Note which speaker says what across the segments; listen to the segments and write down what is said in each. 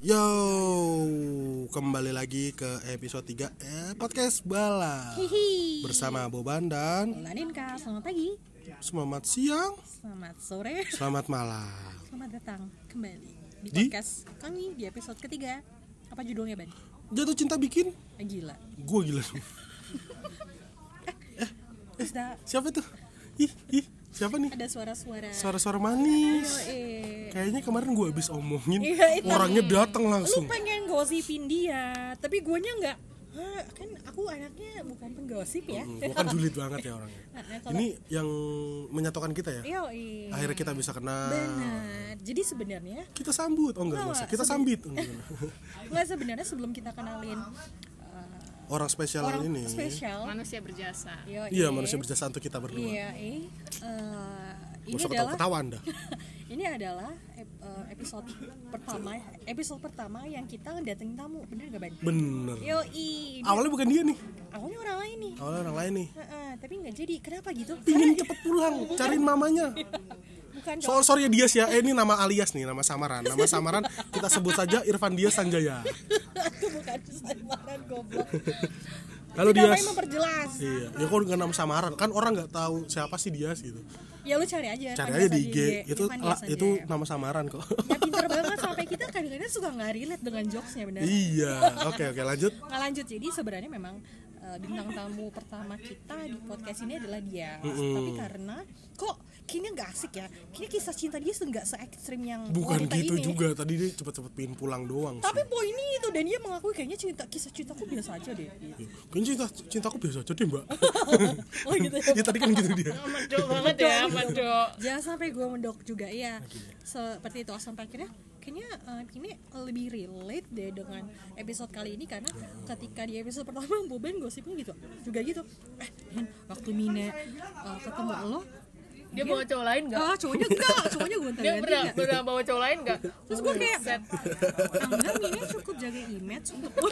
Speaker 1: Yo, kembali lagi ke episode 3 eh, podcast Bala
Speaker 2: Hihi.
Speaker 1: bersama Boban dan
Speaker 2: Laninka, selamat pagi,
Speaker 1: selamat siang,
Speaker 2: selamat sore,
Speaker 1: selamat malam.
Speaker 2: selamat datang kembali di
Speaker 1: Di?
Speaker 2: podcast kami di episode ketiga. Apa judulnya, Ban?
Speaker 1: Jatuh cinta bikin
Speaker 2: Eh, Gila.
Speaker 1: gua gila. dong.
Speaker 2: Terus dah
Speaker 1: Siapa itu? Ih, ih, siapa nih?
Speaker 2: ada suara-suara.
Speaker 1: Suara-suara manis.
Speaker 2: Eh,
Speaker 1: Kayaknya kemarin gua habis omongin,
Speaker 2: Iya, itu.
Speaker 1: orangnya datang
Speaker 2: lu
Speaker 1: langsung.
Speaker 2: pengen gosipin dia, tapi guanya nggak. Hah, kan aku anaknya bukan penggosip ya.
Speaker 1: Hmm, Gua kan julid banget ya orangnya.
Speaker 2: Nah, kalau-
Speaker 1: Ini yang menyatukan kita ya.
Speaker 2: Yoi.
Speaker 1: Akhirnya kita bisa kenal.
Speaker 2: Benar. Jadi sebenarnya
Speaker 1: Kita sambut. Oh enggak,
Speaker 2: Enggak,
Speaker 1: enggak usah. Kita
Speaker 2: sebe-
Speaker 1: sambit. Oh, enggak, enggak.
Speaker 2: nggak sebenarnya sebelum kita kenalin eh,
Speaker 1: Orang spesial
Speaker 2: orang
Speaker 1: ini.
Speaker 2: spesial.
Speaker 3: manusia berjasa
Speaker 2: Yoi.
Speaker 1: Iya, manusia berjasa untuk kita berdua.
Speaker 2: Iya, eh, eh,
Speaker 1: Gak
Speaker 2: ini
Speaker 1: usah
Speaker 2: adalah
Speaker 1: ketawa-ketawa anda
Speaker 2: ini adalah ep- eh, episode pertama episode pertama yang kita datengin tamu, bener gak ban?
Speaker 1: Bener
Speaker 2: Yoi, Iya, ini-
Speaker 1: Awalnya bukan dia nih
Speaker 2: awalnya orang lain nih,
Speaker 1: Awalnya orang lain nih
Speaker 2: Heeh, tapi nggak jadi. Kenapa gitu?
Speaker 1: Pingin
Speaker 2: Karena
Speaker 1: cepet pulang Cariin mamanya
Speaker 2: bukan cowok.
Speaker 1: So, sorry ya Dias ya Eh ini nama alias nih Nama samaran Nama samaran kita sebut saja Irfan Dias Sanjaya
Speaker 2: Aku bukan selebaran goblok.
Speaker 1: Halo
Speaker 2: Tidak
Speaker 1: Dias
Speaker 2: main memperjelas.
Speaker 1: Iya Ya kok dengan nama samaran Kan orang nggak tahu siapa sih Dias gitu
Speaker 2: Ya lu cari aja.
Speaker 1: Cari
Speaker 2: Irfan
Speaker 1: aja
Speaker 2: Diasa
Speaker 1: di IG Itu
Speaker 2: Irfan
Speaker 1: la-
Speaker 2: Diasa
Speaker 1: itu
Speaker 2: Jaya.
Speaker 1: nama samaran kok
Speaker 2: Ya pinter banget sampai kita kadang-kadang suka nggak relate dengan jokesnya bener.
Speaker 1: Iya Oke oke lanjut
Speaker 2: nggak lanjut jadi sebenarnya memang eh, bintang tamu pertama kita di podcast ini adalah dia tapi karena kok kayaknya nggak asik ya kayaknya kisah cinta dia se- nggak se ekstrim yang
Speaker 1: Bukan
Speaker 2: wanita
Speaker 1: gitu
Speaker 2: ini.
Speaker 1: juga Tadi dia cepet-cepet pingin pulang doang sih
Speaker 2: tapi poinnya itu dan dia mengakui kayaknya cinta kisah cintaku biasa aja deh gitu.
Speaker 1: Kayaknya cinta, cintaku biasa aja deh mbak
Speaker 2: oh gitu
Speaker 1: Ya tadi kan gitu dia
Speaker 3: Medo banget ya Medo
Speaker 2: jangan sampai gue mendok juga ya seperti itu sampai akhirnya kayaknya eh, ini lebih relate deh dengan episode kali ini karena ketika di episode pertama Boben gosipnya gitu juga gitu eh Min, waktu Mine eh, ketemu lo
Speaker 3: dia bawa cowok lain
Speaker 1: Ya.
Speaker 3: nggak
Speaker 2: ah cowoknya enggak cowoknya gue
Speaker 3: dia
Speaker 2: ganti
Speaker 3: pernah pernah bawa cowok lain nggak
Speaker 2: terus gue kayak enggak Mine cukup jaga image untuk
Speaker 1: Oh,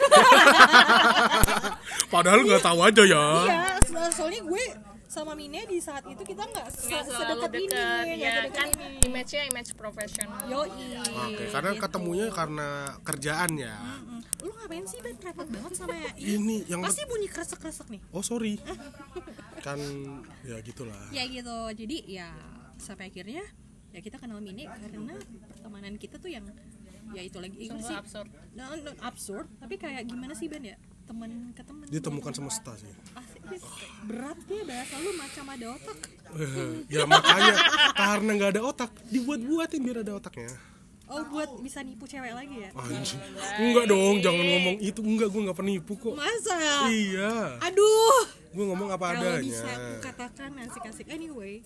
Speaker 1: Padahal nggak tahu aja ya
Speaker 2: iya so- soalnya gue sama Mine di saat itu kita nggak se-
Speaker 3: nggak selalu
Speaker 2: sedekat ini
Speaker 3: dekat
Speaker 2: nggak
Speaker 3: ya
Speaker 2: sedekat
Speaker 3: kan
Speaker 2: ini.
Speaker 3: image-nya image profesional
Speaker 2: Yoi.
Speaker 1: Oke, karena ketemunya karena kerjaan ya.
Speaker 2: Mm, lu ngapain sih Ben repot banget sama ya.
Speaker 1: Ini yang
Speaker 2: pasti bunyi kresek kresek nih
Speaker 1: Oh, sorry. kan ya gitulah.
Speaker 2: ya gitu jadi ya sampai akhirnya ya kita kenal Mini karena pertemanan kita tuh yang ya itu lagi itu
Speaker 3: sungguh
Speaker 2: sih
Speaker 3: absurd
Speaker 2: no, no, absurd tapi kayak gimana sih Ben ya teman ke teman
Speaker 1: Ditemukan semesta sih.
Speaker 2: Asik, Dis. berat ya bahasa lu macam ada otak
Speaker 1: Eh, ya makanya karena nggak ada otak, dibuat-buatin biar ada otaknya.
Speaker 2: oh buat bisa nipu cewek lagi ya
Speaker 1: Anjing. Enggak dong, jangan ngomong itu. Enggak, gua nggak penipu kok.
Speaker 2: masa
Speaker 1: Iya,
Speaker 2: aduh
Speaker 1: gua ngomong apa
Speaker 2: kalau bisa aku
Speaker 1: adanya.
Speaker 2: katakan asik-asik anyway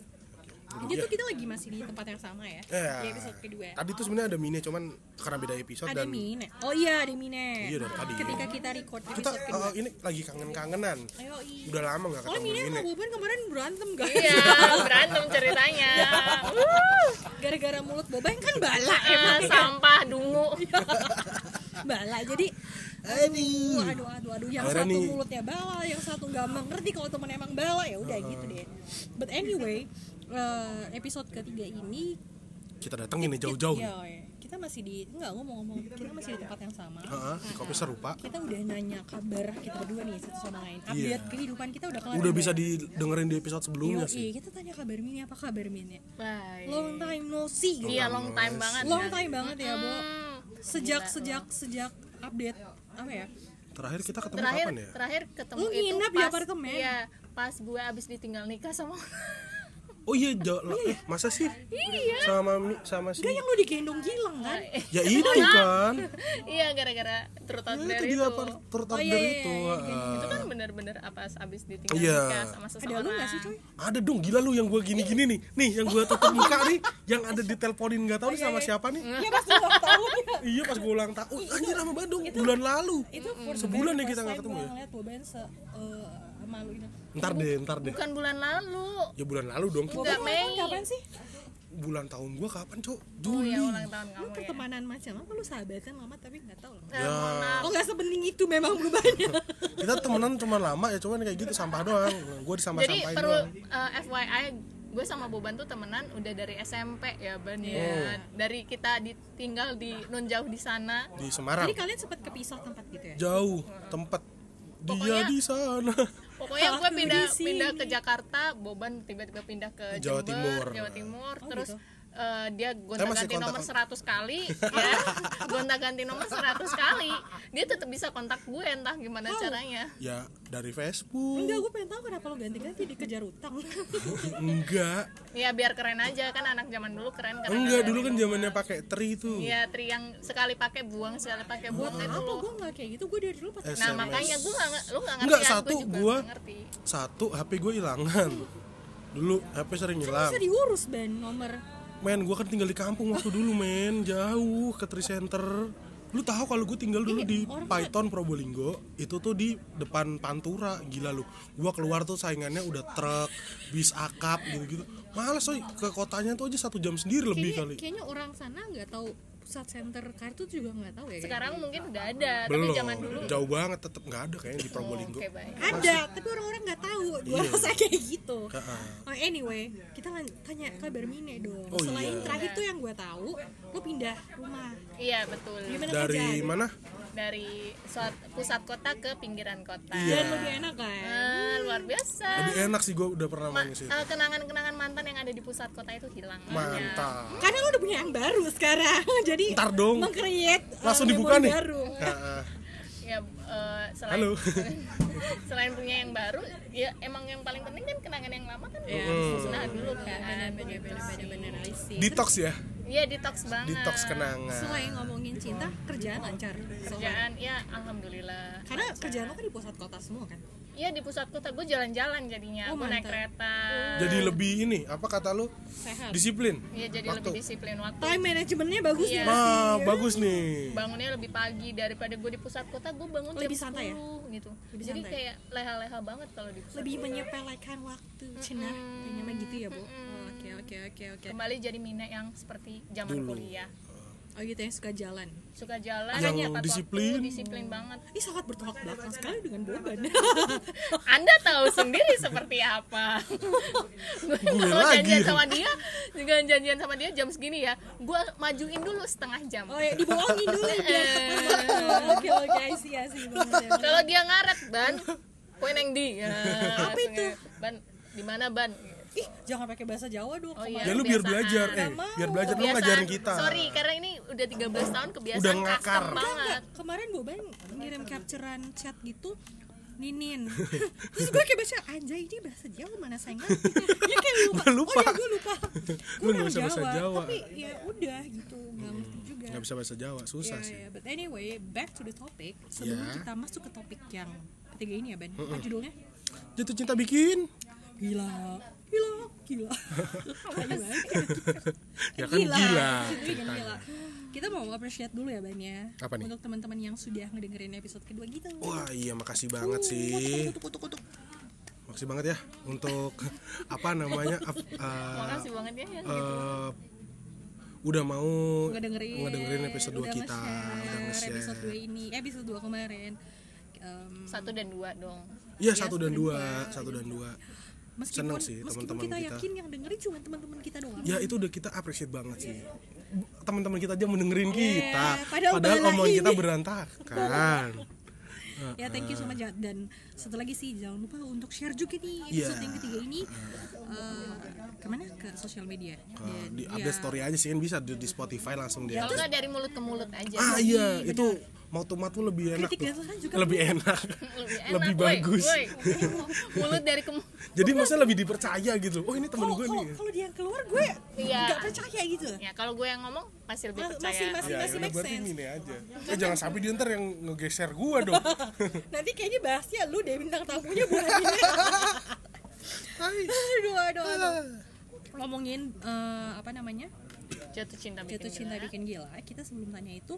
Speaker 2: jadi tuh kita lagi masih di tempat yang sama ya
Speaker 1: Ya.
Speaker 2: di episode kedua
Speaker 1: Tadi tuh sebenarnya ada mini cuman karena beda episode
Speaker 2: ada
Speaker 1: dan
Speaker 2: Mine oh iya ada Mine
Speaker 1: Iya, dari tadi.
Speaker 2: ketika kita record
Speaker 1: kita
Speaker 2: episode
Speaker 1: eh,
Speaker 2: kedua
Speaker 1: ini lagi kangen-kangenan.
Speaker 2: ayo i
Speaker 1: Udah lama nggak
Speaker 2: oh
Speaker 1: ketemu
Speaker 2: Mine sama
Speaker 1: Mine.
Speaker 2: Boban kemarin berantem guys
Speaker 3: iya berantem ceritanya
Speaker 2: Ya. gara-gara mulut Boban kan bala
Speaker 3: Ah, sampah dungu
Speaker 2: bala jadi
Speaker 1: Eh,
Speaker 2: aduh aduh aduh aduh yang
Speaker 1: Iya. Akhirnya
Speaker 2: satu
Speaker 1: nih-
Speaker 2: mulutnya bala yang satu nggak mengerti kalau temen emang bala ya udah gitu deh but anyway eh, episode ketiga ini
Speaker 1: Kita datengin nih jauh-jauh.
Speaker 2: Iya, iya. kita masih di nggak ngomong-ngomong kita masih di tempat yang sama
Speaker 1: Heeh, di kopi serupa.
Speaker 2: kita udah nanya kabar kita berdua nih satu sama lain update
Speaker 1: Iya.
Speaker 2: kehidupan kita udah kelar
Speaker 1: udah
Speaker 2: nih,
Speaker 1: bisa
Speaker 2: Bang.
Speaker 1: didengerin di episode sebelumnya
Speaker 2: Yoi,
Speaker 1: sih.
Speaker 2: kita tanya kabar Mini apa kabar Mini
Speaker 3: bye
Speaker 2: long time no see gitu.
Speaker 3: iya long time banget
Speaker 2: long time banget ya Bo
Speaker 3: Hmm.
Speaker 2: sejak sejak sejak update apa ya
Speaker 1: Terakhir kita ketemu
Speaker 3: terakhir
Speaker 1: kapan ya?
Speaker 3: terakhir ketemu
Speaker 2: Lu
Speaker 3: itu
Speaker 2: nginep di
Speaker 3: pas
Speaker 2: apartemen?
Speaker 3: iya pas gue abis ditinggal nikah sama
Speaker 1: Oh iya, jauh, eh, masa sih?
Speaker 2: Iya.
Speaker 1: Sama Mi- sama si.
Speaker 2: enggak yang lu digendong gilang kan
Speaker 1: Ya itu kan.
Speaker 3: iya gara-gara turut out
Speaker 1: Ya,
Speaker 3: dari
Speaker 1: itu
Speaker 3: itu
Speaker 1: dia per- turut
Speaker 2: Oh,
Speaker 1: order
Speaker 2: iya, iya,
Speaker 1: itu.
Speaker 2: iya,
Speaker 1: heeh.
Speaker 3: itu kan bener-bener apa abis ditinggal
Speaker 1: Iya.
Speaker 3: nikah sama seseorang
Speaker 2: ada lu nggak sih coy
Speaker 1: Ada dong gila lu yang gua gini-gini nih. Nih yang gua tutup muka nih, yang ada diteleponin nggak tahu nih sama siapa nih.
Speaker 2: ya pas lu ulang tahun ya
Speaker 1: Iya pas gua ulang tahun. Oh, anjir sama Bandung bulan lalu.
Speaker 2: iya. itu for the
Speaker 1: Sebulan
Speaker 2: very
Speaker 1: deh kita
Speaker 2: first
Speaker 1: nggak
Speaker 2: time
Speaker 1: ketemu
Speaker 2: gua
Speaker 1: ya.
Speaker 2: ngeliat Boban se eh, malu ini
Speaker 1: Ntar deh, ntar deh.
Speaker 3: bukan bulan lalu
Speaker 1: Ya bulan lalu dong.
Speaker 2: Boban ulang tahun
Speaker 3: Mei.
Speaker 2: kapan sih
Speaker 1: Bulan tahun gua kapan, Cok?
Speaker 3: oh
Speaker 1: Juli.
Speaker 3: ya ulang tahun
Speaker 2: lu
Speaker 3: kamu ya
Speaker 2: pertemanan macam apa lu sahabatan lama tapi nggak tahu lah
Speaker 3: Eh, mohon maaf
Speaker 2: Oh nggak sebening itu memang perubahannya
Speaker 1: Nah. Kita temenan cuma lama ya, cuman kayak gitu sampah doang. Gua
Speaker 3: jadi
Speaker 1: disampah-sampahin
Speaker 3: perlu
Speaker 1: doang.
Speaker 3: eh, FYI gue sama Boban tuh temenan udah dari SMP ya Ban
Speaker 2: Oh.
Speaker 3: ya. Dari kita ditinggal di non jauh di sana.
Speaker 1: di Semarang
Speaker 2: Jadi kalian sempat kepisah tempat gitu ya?
Speaker 1: jauh tempat dia
Speaker 3: Pokoknya-
Speaker 1: di sana
Speaker 3: Pokoknya gue
Speaker 2: Aku
Speaker 3: pindah
Speaker 2: di sini.
Speaker 3: pindah ke Jakarta, Boban tiba-tiba pindah ke
Speaker 1: Jawa
Speaker 3: Jember,
Speaker 1: Timur.
Speaker 3: Jawa Timur, terus eh, dia
Speaker 1: masih
Speaker 3: gonta-ganti
Speaker 1: kontak-
Speaker 3: nomor 100 kali ya. gonta-ganti nomor 100 kali. Dia tetap bisa kontak gue entah gimana caranya.
Speaker 1: ya dari Facebook
Speaker 2: Enggak, gue pengen tahu kenapa lo ganti-ganti dikejar utang.
Speaker 1: enggak
Speaker 3: Ya biar keren aja kan anak zaman dulu keren keren.
Speaker 1: enggak dulu kan zamannya pakai tri tuh
Speaker 3: Iya, tri yang sekali pakai buang, sekali pakai buang itu
Speaker 2: Apa
Speaker 3: loh.
Speaker 2: gue nggak kayak gitu? Gue dari dulu pas
Speaker 3: Nah,
Speaker 1: SMS.
Speaker 3: makanya gue gak, lu gak ngerti
Speaker 1: Enggak,
Speaker 3: kan? Gua
Speaker 1: satu,
Speaker 3: juga
Speaker 1: gua-
Speaker 3: nggak ngerti.
Speaker 1: satu HP gue hilangan dulu HP sering hilang
Speaker 2: bisa diurus ban nomor.
Speaker 1: men gue kan tinggal di kampung waktu dulu men jauh ke Tri Center lu tahu kalau gue tinggal dulu di Python Probolinggo itu tuh di depan Pantura gila lu gue keluar tuh saingannya udah truk bis akap gitu gitu males coy ke kotanya tuh aja satu jam sendiri lebih
Speaker 2: Kayaknya,
Speaker 1: kali
Speaker 2: kayaknya orang sana nggak tahu pusat center kartu tuh juga nggak tahu ya. kayaknya.
Speaker 3: Sekarang mungkin udah ada, tapi
Speaker 1: belum
Speaker 3: zaman dulu. Oh,
Speaker 1: jauh banget tetep nggak ada kayaknya di Probolinggo
Speaker 3: Oke, baik.
Speaker 2: Ada, tapi orang-orang nggak tahu. Gue rasa kayak gitu.
Speaker 1: Iya. Heeh.
Speaker 2: Oh, anyway, kita lan- tanya kabar Mine dong.
Speaker 1: Oh,
Speaker 2: Selain
Speaker 1: iya.
Speaker 2: terakhir tuh yang gue tahu, lo pindah rumah.
Speaker 3: Iya, betul.
Speaker 2: Gimana
Speaker 1: dari
Speaker 2: kerjaan?
Speaker 1: mana
Speaker 3: Dari suat- pusat kota ke pinggiran kota.
Speaker 1: Iya.
Speaker 2: Dan lebih enak kan?
Speaker 3: Ah, luar biasa.
Speaker 1: lebih enak sih gue udah pernah
Speaker 3: Ma-
Speaker 1: main ke situ
Speaker 3: eh, kenangan-kenangan mantan yang ada di pusat kota itu hilang.
Speaker 1: mantap
Speaker 2: Karena lo udah punya yang baru sekarang, jadi
Speaker 1: Ntar dong.
Speaker 2: meng-create, uh,
Speaker 1: langsung dibuka nih
Speaker 2: memori baru.
Speaker 1: Heeh.
Speaker 3: Ya, eh, selain
Speaker 1: halo
Speaker 3: selain punya yang baru, ya emang yang paling penting kan kenangan yang lama kan
Speaker 1: Hmm.
Speaker 3: musnah dulu kan.
Speaker 2: Bener-bener I see.
Speaker 1: detox ya
Speaker 3: Iya, detox banget.
Speaker 1: detox kan. kenangan
Speaker 2: Selain ngomongin cinta, kerjaan lancar. So,
Speaker 3: Kerjaan, ya alhamdulillah.
Speaker 2: karena kerjaan lo kan di pusat kota semua kan?
Speaker 3: Iya di pusat kota gue jalan-jalan jadinya,
Speaker 2: Oh,
Speaker 3: gue naik
Speaker 2: mantap.
Speaker 3: kereta.
Speaker 1: jadi lebih ini apa kata lu
Speaker 2: Sehat.
Speaker 1: disiplin
Speaker 3: Iya jadi
Speaker 1: Waktu.
Speaker 3: lebih disiplin waktu.
Speaker 2: Time managementnya bagus
Speaker 3: Iya.
Speaker 2: nih.
Speaker 1: nah bagus nih
Speaker 3: Bangunnya lebih pagi daripada gue di pusat kota, gue bangun
Speaker 2: Lebih
Speaker 3: jam
Speaker 2: santai ya?
Speaker 3: 10 gitu.
Speaker 2: Lebih
Speaker 3: jadi
Speaker 2: santai. ya?
Speaker 3: kayak leha-leha banget kalau di pusat.
Speaker 2: Lebih menyepelekan waktu, cenah. Kayaknya mah gitu ya, Bu. Oh, Oke, oke, oke, oke.
Speaker 3: Kembali jadi Mina yang seperti zaman kuliah.
Speaker 2: Oh gitu yang suka jalan.
Speaker 3: Suka jalan,
Speaker 1: Yang
Speaker 3: tepat waktu,
Speaker 1: disiplin.
Speaker 3: disiplin banget.
Speaker 2: Ini sangat bertolak belakang sekali dengan Boban.
Speaker 3: Anda tahu sendiri seperti apa. gue
Speaker 1: Gue
Speaker 3: kalau
Speaker 1: lagi.
Speaker 3: janjian sama dia, juga janjian sama dia jam segini ya. Gue majuin dulu setengah jam.
Speaker 2: oh ya, dibohongin dulu ya. Oke, oke, I see, I see. Bener, bener.
Speaker 3: kalau dia ngaret ban poin yang di ya,
Speaker 2: Apa
Speaker 3: langsung
Speaker 2: itu?
Speaker 3: ya, ban di mana ban
Speaker 2: Ih, jangan pakai bahasa Jawa dong.
Speaker 3: Oh,
Speaker 2: kemarin.
Speaker 1: ya lu biar
Speaker 3: Kebiasaan.
Speaker 1: belajar eh
Speaker 2: Nggak mau.
Speaker 1: biar belajar lu
Speaker 3: Kebiasaan.
Speaker 1: ngajarin kita
Speaker 3: sorry karena ini udah 13 tahun kebiasaan
Speaker 1: Udah ngakar.
Speaker 3: custom
Speaker 2: Enggak,
Speaker 3: banget
Speaker 2: kemarin Boban ngirim capturean chat gitu Ninin Terus gue kayak baca Anjay ini bahasa Jawa mana saya ngerti Dia kayak lupa,
Speaker 1: Gua lupa.
Speaker 2: Oh iya gue lupa Gue
Speaker 1: Lu nggak
Speaker 2: orang
Speaker 1: bisa
Speaker 2: Jawa,
Speaker 1: bahasa Jawa.
Speaker 2: Tapi ya udah gitu Gak ngerti juga
Speaker 1: nggak bisa bahasa Jawa susah
Speaker 2: Ya,
Speaker 1: sih
Speaker 2: ya, But anyway back to the topic Sebelum
Speaker 1: Ya.
Speaker 2: kita masuk ke topik yang ketiga ini ya Ben Apa judulnya? iya.
Speaker 1: jatuh cinta bikin
Speaker 2: Gila Gila Gila Apaan banget
Speaker 1: ya kan gila,
Speaker 2: Ini kan gila. Kita mau appreciate dulu ya Ben ya
Speaker 1: Apa nih?
Speaker 2: Untuk teman-teman yang sudah ngedengerin episode kedua gitu
Speaker 1: wah iya makasih banget sih makasih banget ya untuk apa namanya ap- eh,
Speaker 3: makasih banget ya yang
Speaker 1: eh, udah mau
Speaker 2: Ngedengerin
Speaker 1: ngedengerin episode 2
Speaker 2: udah
Speaker 1: kita
Speaker 2: nge-share
Speaker 1: udah nge-share
Speaker 2: Episode 2 ini eh, Episode 2 kemarin Em,
Speaker 3: satu dan dua dong
Speaker 2: ya,
Speaker 1: Iya satu dan dua, satu dan dua. Seneng
Speaker 2: Meskipun,
Speaker 1: sih
Speaker 2: meskipun
Speaker 1: teman-teman
Speaker 2: kita,
Speaker 1: kita.
Speaker 2: yakin yang dengerin cuma teman-teman kita doang
Speaker 1: Ya itu udah kita appreciate banget sih. Bu- Teman-teman kita aja mendengerin kita,
Speaker 2: padahal
Speaker 1: padahal
Speaker 2: belain.
Speaker 1: omongan kita berantakan.
Speaker 2: Ya thank you so much ya. Dan satu lagi sih jangan lupa untuk share juga nih
Speaker 1: Iya.
Speaker 2: episode yang ketiga ini eh, Kemana? Ke sosial media
Speaker 1: Nah,
Speaker 2: Dan
Speaker 1: di
Speaker 2: ya,
Speaker 1: update story aja sih kan bisa di, di Spotify langsung dia.
Speaker 3: kalau nggak dari mulut ke mulut aja
Speaker 1: Iya. Ah iya, itu mau tumat tuh lebih enak
Speaker 2: Kritik
Speaker 1: tuh.
Speaker 2: dan saran juga
Speaker 1: Lebih enak.
Speaker 3: lebih enak
Speaker 1: lebih
Speaker 3: woi,
Speaker 1: bagus.
Speaker 3: woi. mulut dari ke mu-
Speaker 1: Jadi maksudnya lebih dipercaya gitu. Oh, ini temen
Speaker 2: Kalau
Speaker 1: gue
Speaker 2: kalau-
Speaker 1: nih.
Speaker 2: kalau dia yang keluar gue
Speaker 3: Iya.
Speaker 2: nggak percaya gitu
Speaker 3: ya kalau gue yang ngomong pasti lebih
Speaker 2: Mas-
Speaker 3: percaya
Speaker 2: Ah, masih- masih-
Speaker 1: Ya,
Speaker 2: masih
Speaker 1: yaudah,
Speaker 2: make
Speaker 1: berarti
Speaker 2: sense.
Speaker 1: gini aja. Eh, jangan sampai dia ntar yang ngegeser gua dong.
Speaker 2: Nanti kayaknya bahasnya lu deh bintang tamunya bukan ini. aduh, aduh, aduh. Ngomongin eh, apa namanya?
Speaker 3: jatuh cinta bikin
Speaker 2: Jatuh cinta
Speaker 3: gila.
Speaker 2: bikin gila. Kita sebelum tanya itu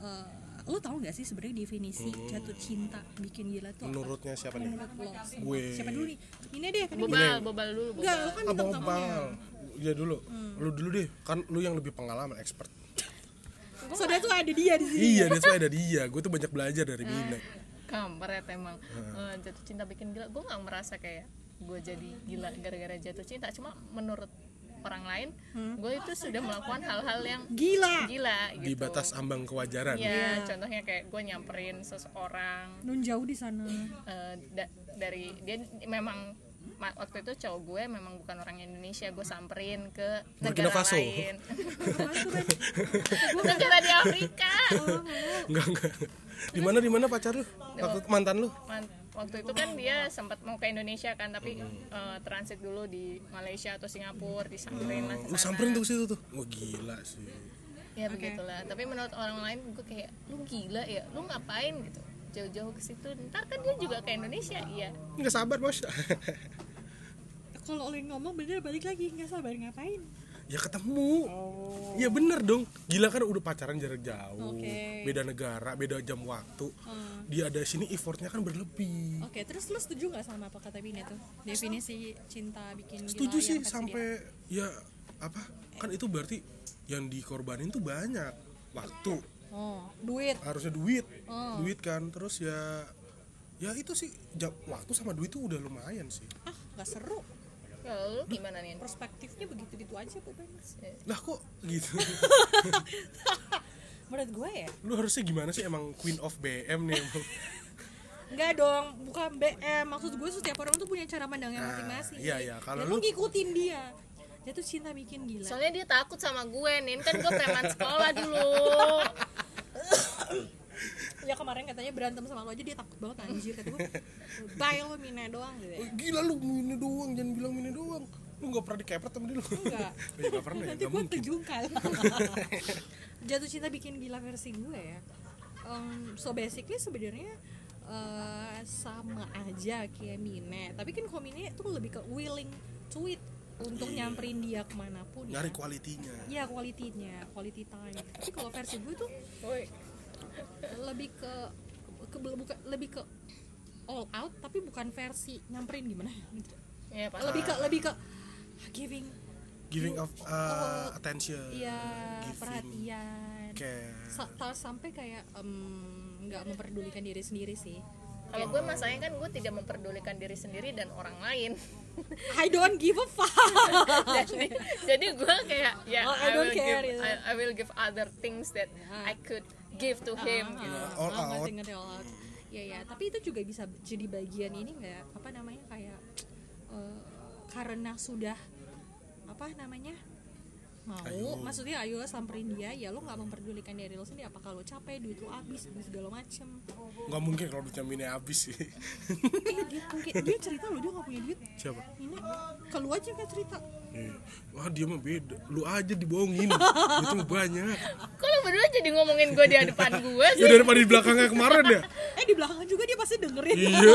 Speaker 2: eh, lu tahu nggak sih sebenarnya definisi
Speaker 1: Hmm.
Speaker 2: jatuh cinta bikin gila tuh apa?
Speaker 1: Menurutnya siapa nih?
Speaker 2: Menurut lo.
Speaker 1: Gue.
Speaker 2: Siapa dulu nih? Ini deh kan ini.
Speaker 3: bobal bobal dulu bobal.
Speaker 2: Enggak, lu kan bintang
Speaker 1: Abang
Speaker 2: tamunya.
Speaker 1: Opal Ya dulu Lu dulu deh Kan lu yang lebih pengalaman expert
Speaker 2: Saudara tuh ada dia di sini.
Speaker 1: Iya that's why ada dia Gue tuh banyak belajar dari Bina
Speaker 3: kampret emang Eh, jatuh cinta bikin gila gue nggak merasa kayak gue jadi gila gara-gara jatuh cinta cuma menurut orang lain
Speaker 2: Hmm.
Speaker 3: gue itu sudah melakukan hal-hal yang
Speaker 2: gila
Speaker 3: gila
Speaker 1: di
Speaker 3: gitu
Speaker 1: batas ambang kewajaran
Speaker 3: ya contohnya kayak gue nyamperin seseorang
Speaker 2: nun jauh di sana
Speaker 3: eh, da- dari dia memang ma- waktu itu cowok gue memang bukan orang Indonesia gue samperin ke
Speaker 1: Burkina
Speaker 3: negara
Speaker 1: Faso.
Speaker 3: lain
Speaker 2: Apaan tuh, Ben?
Speaker 3: negara di Afrika
Speaker 1: enggak enggak di mana di mana pacar lu waktu itu mantan lu
Speaker 3: Man- waktu itu kan dia sempat mau ke Indonesia kan tapi eh, transit dulu di Malaysia atau Singapura disamperin lah ke
Speaker 1: Mm. lu
Speaker 3: sana.
Speaker 1: samperin tuh ke situ tuh wah gila sih
Speaker 3: ya begitulah tapi menurut orang lain gue kayak lu gila ya lu ngapain gitu jauh-jauh ke situ ntar kan dia juga ke Indonesia iya
Speaker 1: nggak sabar bos
Speaker 2: kalau oleh ngomong bener balik lagi nggak sabar ngapain
Speaker 1: ya ketemu ya bener dong gila kan udah pacaran jarak jauh
Speaker 2: Oke.
Speaker 1: beda negara beda jam waktu dia ada sini effortnya kan berlebih
Speaker 2: Oh, Oke, terus lu setuju nggak sama apa kata Bina tuh? Definisi cinta bikin gila
Speaker 1: setuju
Speaker 2: yang
Speaker 1: sih
Speaker 2: kata dia.
Speaker 1: sampai ya apa kan itu berarti yang dikorbanin tuh banyak waktu
Speaker 2: Oh, duit.
Speaker 1: harusnya duit
Speaker 2: Oh.
Speaker 1: duit kan terus ya ya itu sih jam, waktu sama duit tuh udah lumayan sih
Speaker 2: Ah, nggak seru.
Speaker 3: kalau lu gimana nih
Speaker 2: Perspektifnya begitu gitu aja, Bu Ben.
Speaker 1: lah kok gitu
Speaker 2: Menurut gue ya,
Speaker 1: lu harusnya gimana sih emang queen of BM nih emang
Speaker 2: Enggak dong, bukan BM. Maksud gue setiap orang tuh punya cara pandangnya
Speaker 1: Nah,
Speaker 2: masing-masing.
Speaker 1: iya, iya. Kalau
Speaker 2: Dan
Speaker 1: lu-
Speaker 2: ngikutin dia. Dia tuh cinta bikin gila.
Speaker 3: soalnya dia takut sama gue nih kan gue preman sekolah dulu
Speaker 2: ya kemarin katanya berantem sama lo aja dia takut banget anjir kata gue. Bye lo Mina doang gitu ya.
Speaker 1: gila lu mini doang jangan bilang mini doang lu nggak pernah dikepret sama dia lu
Speaker 2: Enggak.
Speaker 1: Oh, ya, nggak pernah ya
Speaker 2: Nanti
Speaker 1: nggak
Speaker 2: gue
Speaker 1: mungkin
Speaker 2: terjungkal. Jatuh cinta bikin gila versi gue ya. Em, so basically sebenarnya eh, sama aja kayak Mine, tapi kan kalau Mine tuh lebih ke willing to it untuk nyamperin dia kemanapun ya.
Speaker 1: nyari kualitinya
Speaker 2: Iya kualitinya, quality time. Tapi kalau versi gue tuh
Speaker 3: Woi,
Speaker 2: lebih ke, ke buka- lebih ke all out tapi bukan versi nyamperin gimana ya, gitu.
Speaker 3: ya pasti
Speaker 2: Lebih ke lebih ke giving
Speaker 1: giving of uh,
Speaker 2: Oh,
Speaker 1: attention
Speaker 2: ya
Speaker 1: giving
Speaker 2: perhatian.
Speaker 1: care
Speaker 2: Sa- ta- sampai kayak em, nggak memperdulikan diri sendiri sih.
Speaker 3: kalau gue masalahnya kan gue tidak memperdulikan diri sendiri dan orang lain
Speaker 2: I don't give a fuck.
Speaker 3: jadi, jadi gue kayak ya
Speaker 2: Oh, I
Speaker 3: I,
Speaker 2: don't
Speaker 3: will
Speaker 2: care,
Speaker 3: give
Speaker 2: gitu.
Speaker 3: I, I will give other things that I could give to him gitu.
Speaker 2: Ah,
Speaker 1: all
Speaker 2: ah,
Speaker 1: out.
Speaker 2: ngerti, ngerti, all out. Iya ya, tapi itu juga bisa jadi bagian ini nggak ya? apa namanya kayak eh, karena sudah apa namanya mau
Speaker 1: Ayo.
Speaker 2: maksudnya ayo samperin dia ya lo nggak memperdulikan diri lo sendiri apakah lo capek duit lo habis duit segala macem
Speaker 1: nggak mungkin kalau duitnya mini habis sih
Speaker 2: eh dia mungkin dia cerita lo dia nggak punya duit
Speaker 1: siapa
Speaker 2: ini kalau aja nggak cerita
Speaker 1: Iya. wah dia mah beda lu aja dibohongin itu banyak
Speaker 3: Kok lu berdua jadi ngomongin gue di depan gue
Speaker 1: ya
Speaker 3: sih?
Speaker 1: daripada di belakangnya kemarin ya
Speaker 2: eh di belakang juga dia pasti dengerin
Speaker 1: iya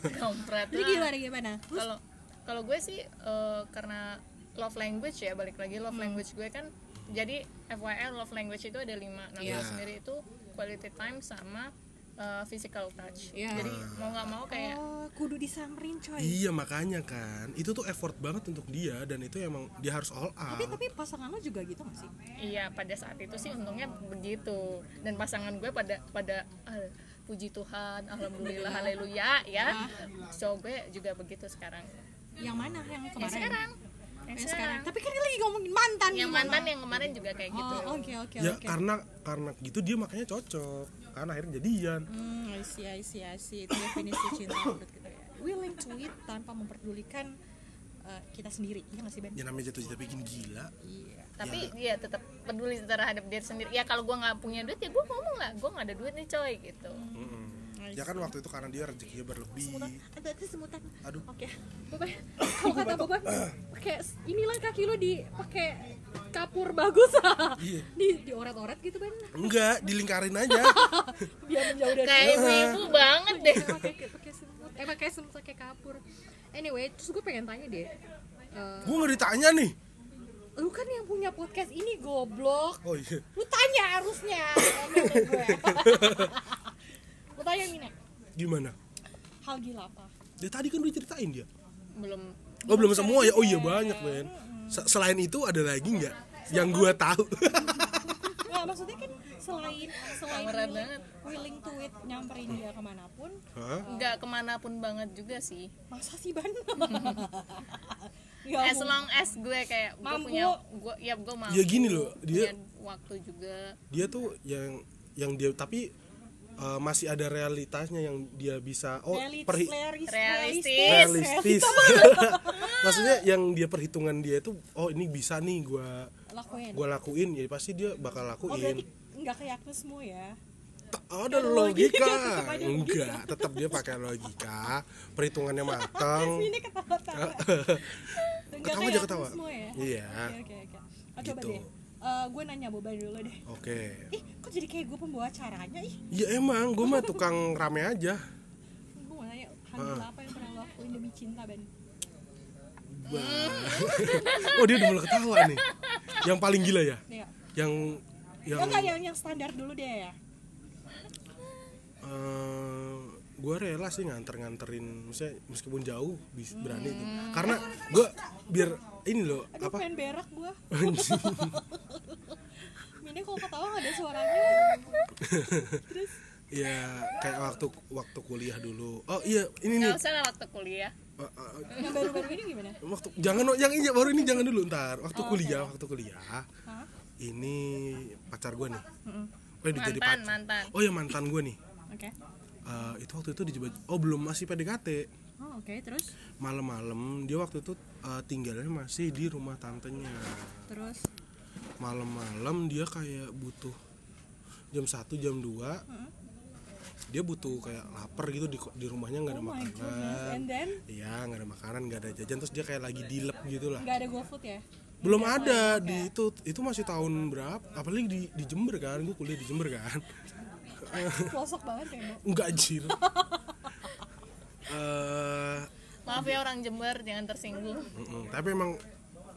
Speaker 3: Kampret
Speaker 2: jadi
Speaker 3: lah.
Speaker 2: gimana gimana Terus,
Speaker 3: Kalau kalau gue sih eh, karena love language ya balik lagi love
Speaker 2: Hmm.
Speaker 3: language gue kan jadi FYR love language itu ada lima namanya
Speaker 1: Iya.
Speaker 3: sendiri itu quality time sama eh, physical touch.
Speaker 2: Iya.
Speaker 3: Jadi mau nggak mau kayak
Speaker 2: oh, kudu disamperin coy
Speaker 1: iya makanya kan itu tuh effort banget untuk dia dan itu emang dia harus all
Speaker 2: tapi
Speaker 1: out
Speaker 2: tapi pasangan lo juga gitu nggak sih
Speaker 3: Iya pada saat itu sih untungnya begitu dan pasangan gue pada pada ah, puji Tuhan alhamdulillah haleluya ya so gue juga begitu sekarang
Speaker 2: yang mana yang kemarin
Speaker 3: yang sekarang yang
Speaker 2: Yang
Speaker 3: sekarang
Speaker 2: tapi kan ini lagi ngomongin mantan
Speaker 3: yang
Speaker 2: gimana?
Speaker 3: mantan yang kemarin juga kayak gitu
Speaker 2: oh oke oke
Speaker 1: ya
Speaker 2: oke
Speaker 1: karena karena gitu dia makanya cocok karena akhirnya jadian
Speaker 2: hmm I see I see I see itu definisi cinta menurut kita ya willing to it tanpa memperdulikan eh, kita sendiri iya nggak sih Ben
Speaker 1: ya namanya jatuh cinta bikin gila
Speaker 2: iya
Speaker 3: tapi ya tetap peduli terhadap diri sendiri ya kalau gue nggak punya duit ya gue ngomong lah gue nggak ada duit nih coy gitu
Speaker 1: Mm-mm.
Speaker 2: I
Speaker 1: ya kan waktu itu karena dia rezekinya berlebih
Speaker 2: ada ada semutan
Speaker 1: aduh
Speaker 2: oke Boban kalau kata Boban pakai s- inilah kaki lu di pakai kapur bagus
Speaker 1: Iya.
Speaker 2: di dioret-oret gitu Ben
Speaker 1: enggak dilingkarin aja
Speaker 2: biar menjauh dari
Speaker 1: Iya.
Speaker 3: kayak gitu. ibu-ibu banget deh
Speaker 2: pakai pakai semut eh pakai semut pakai kapur anyway terus gue pengen tanya deh Eh,
Speaker 1: gua nggak ditanya nih
Speaker 2: lu kan yang punya podcast ini goblok
Speaker 1: oh iya
Speaker 2: lu tanya harusnya ngomel deh gue. lu tanya Mina
Speaker 1: gimana
Speaker 2: hal gila apa
Speaker 1: ya tadi kan udah ceritain dia
Speaker 3: belum
Speaker 1: oh belum semua ya oh iya banyak men Se- selain itu ada lagi nggak yang gua tahu
Speaker 2: Wah, enggak maksudnya kan selain selain
Speaker 3: Tawaran
Speaker 2: willing,
Speaker 3: banget.
Speaker 2: willing to it nyamperin dia kemanapun
Speaker 1: Hah?
Speaker 3: nggak kemanapun banget juga sih
Speaker 2: masa sih ban Ya
Speaker 3: as long as gue kayak gue
Speaker 2: Mampu.
Speaker 3: punya gue ya gue mampu
Speaker 1: Ya gini loh, dia-
Speaker 3: punya waktu juga
Speaker 1: dia tuh yang yang dia tapi eh, masih ada realitasnya yang dia bisa oh
Speaker 2: Reali-
Speaker 1: perhi-
Speaker 2: realis-
Speaker 3: Realistis.
Speaker 1: realistis maksudnya yang dia perhitungan dia tuh oh ini bisa nih gua
Speaker 2: lakuin
Speaker 1: gua lakuin ya pasti dia bakal
Speaker 2: oh berarti
Speaker 1: lakuin
Speaker 2: nggak kayak Agnesmu ya
Speaker 1: Tak ada logika
Speaker 2: logika, tetap ada logika.
Speaker 1: enggak tetap dia pakai logika perhitungannya matang
Speaker 2: ini ketawa-tawa Nggak
Speaker 1: Ketawa
Speaker 2: kayak
Speaker 1: aja ketawa.
Speaker 2: Agnesmu ya
Speaker 1: Iya.
Speaker 2: oke oke oke Oh, coba
Speaker 1: Gitu.
Speaker 2: deh Eh, gue nanya Boban dulu deh
Speaker 1: oke
Speaker 2: ih kok jadi kayak gue pembawa acaranya ih
Speaker 1: ya emang gua mah tukang rame aja
Speaker 2: gue mau nanya hal gila
Speaker 1: Ah.
Speaker 2: apa yang pernah lo lakuin demi cinta Ben Hmm.
Speaker 1: oh dia udah mulai ketawa nih yang paling gila ya
Speaker 2: Iya.
Speaker 1: yang yang
Speaker 2: Oh, enggak yang yang standar dulu deh ya.
Speaker 1: gue Eh, rela sih nganter-nganterin misalnya meskipun jauh bis- berani tuh karena gue biar ini loh
Speaker 2: Aduh
Speaker 1: apa
Speaker 2: pengen berak gua.
Speaker 1: anjing.
Speaker 2: Mini kalau ketawa nggak ada suaranya.
Speaker 1: ya kayak waktu waktu kuliah dulu oh iya ini nih
Speaker 3: nggak usah lah waktu kuliah
Speaker 1: Eh, eh,
Speaker 2: Yang baru-baru ini gimana?
Speaker 1: waktu jangan oh, yang ini baru ini jangan dulu ntar
Speaker 3: Oh,
Speaker 1: waktu kuliah waktu kuliah
Speaker 2: Hah?
Speaker 1: ini pacar gue nih oh udah jadi
Speaker 3: mantan
Speaker 1: pacar
Speaker 3: mantan
Speaker 1: oh ya mantan gue nih
Speaker 2: Oke.
Speaker 1: Eh, itu waktu itu dijebak oh belum masih PDKT
Speaker 2: Oh, oke, terus
Speaker 1: malam-malam dia waktu itu eh, tinggalnya masih di rumah tantenya
Speaker 2: terus
Speaker 1: malam-malam dia kayak butuh jam 1 jam 2 dia butuh kayak lapar gitu di, di rumahnya nggak ada
Speaker 2: Oh my goodness.
Speaker 1: makanan
Speaker 2: And then
Speaker 1: iya nggak ada makanan nggak ada jajan terus dia kayak lagi dilep gitu lah
Speaker 2: nggak ada GoFood ya?
Speaker 1: belum ada di itu itu masih tahun berapa apalagi di, di Jember kan gue kuliah di Jember kan
Speaker 2: Pelosok banget ya, Mbak.
Speaker 1: nggak jir Eh,
Speaker 3: maaf ya orang Jember jangan tersinggung
Speaker 1: mm-mm. tapi emang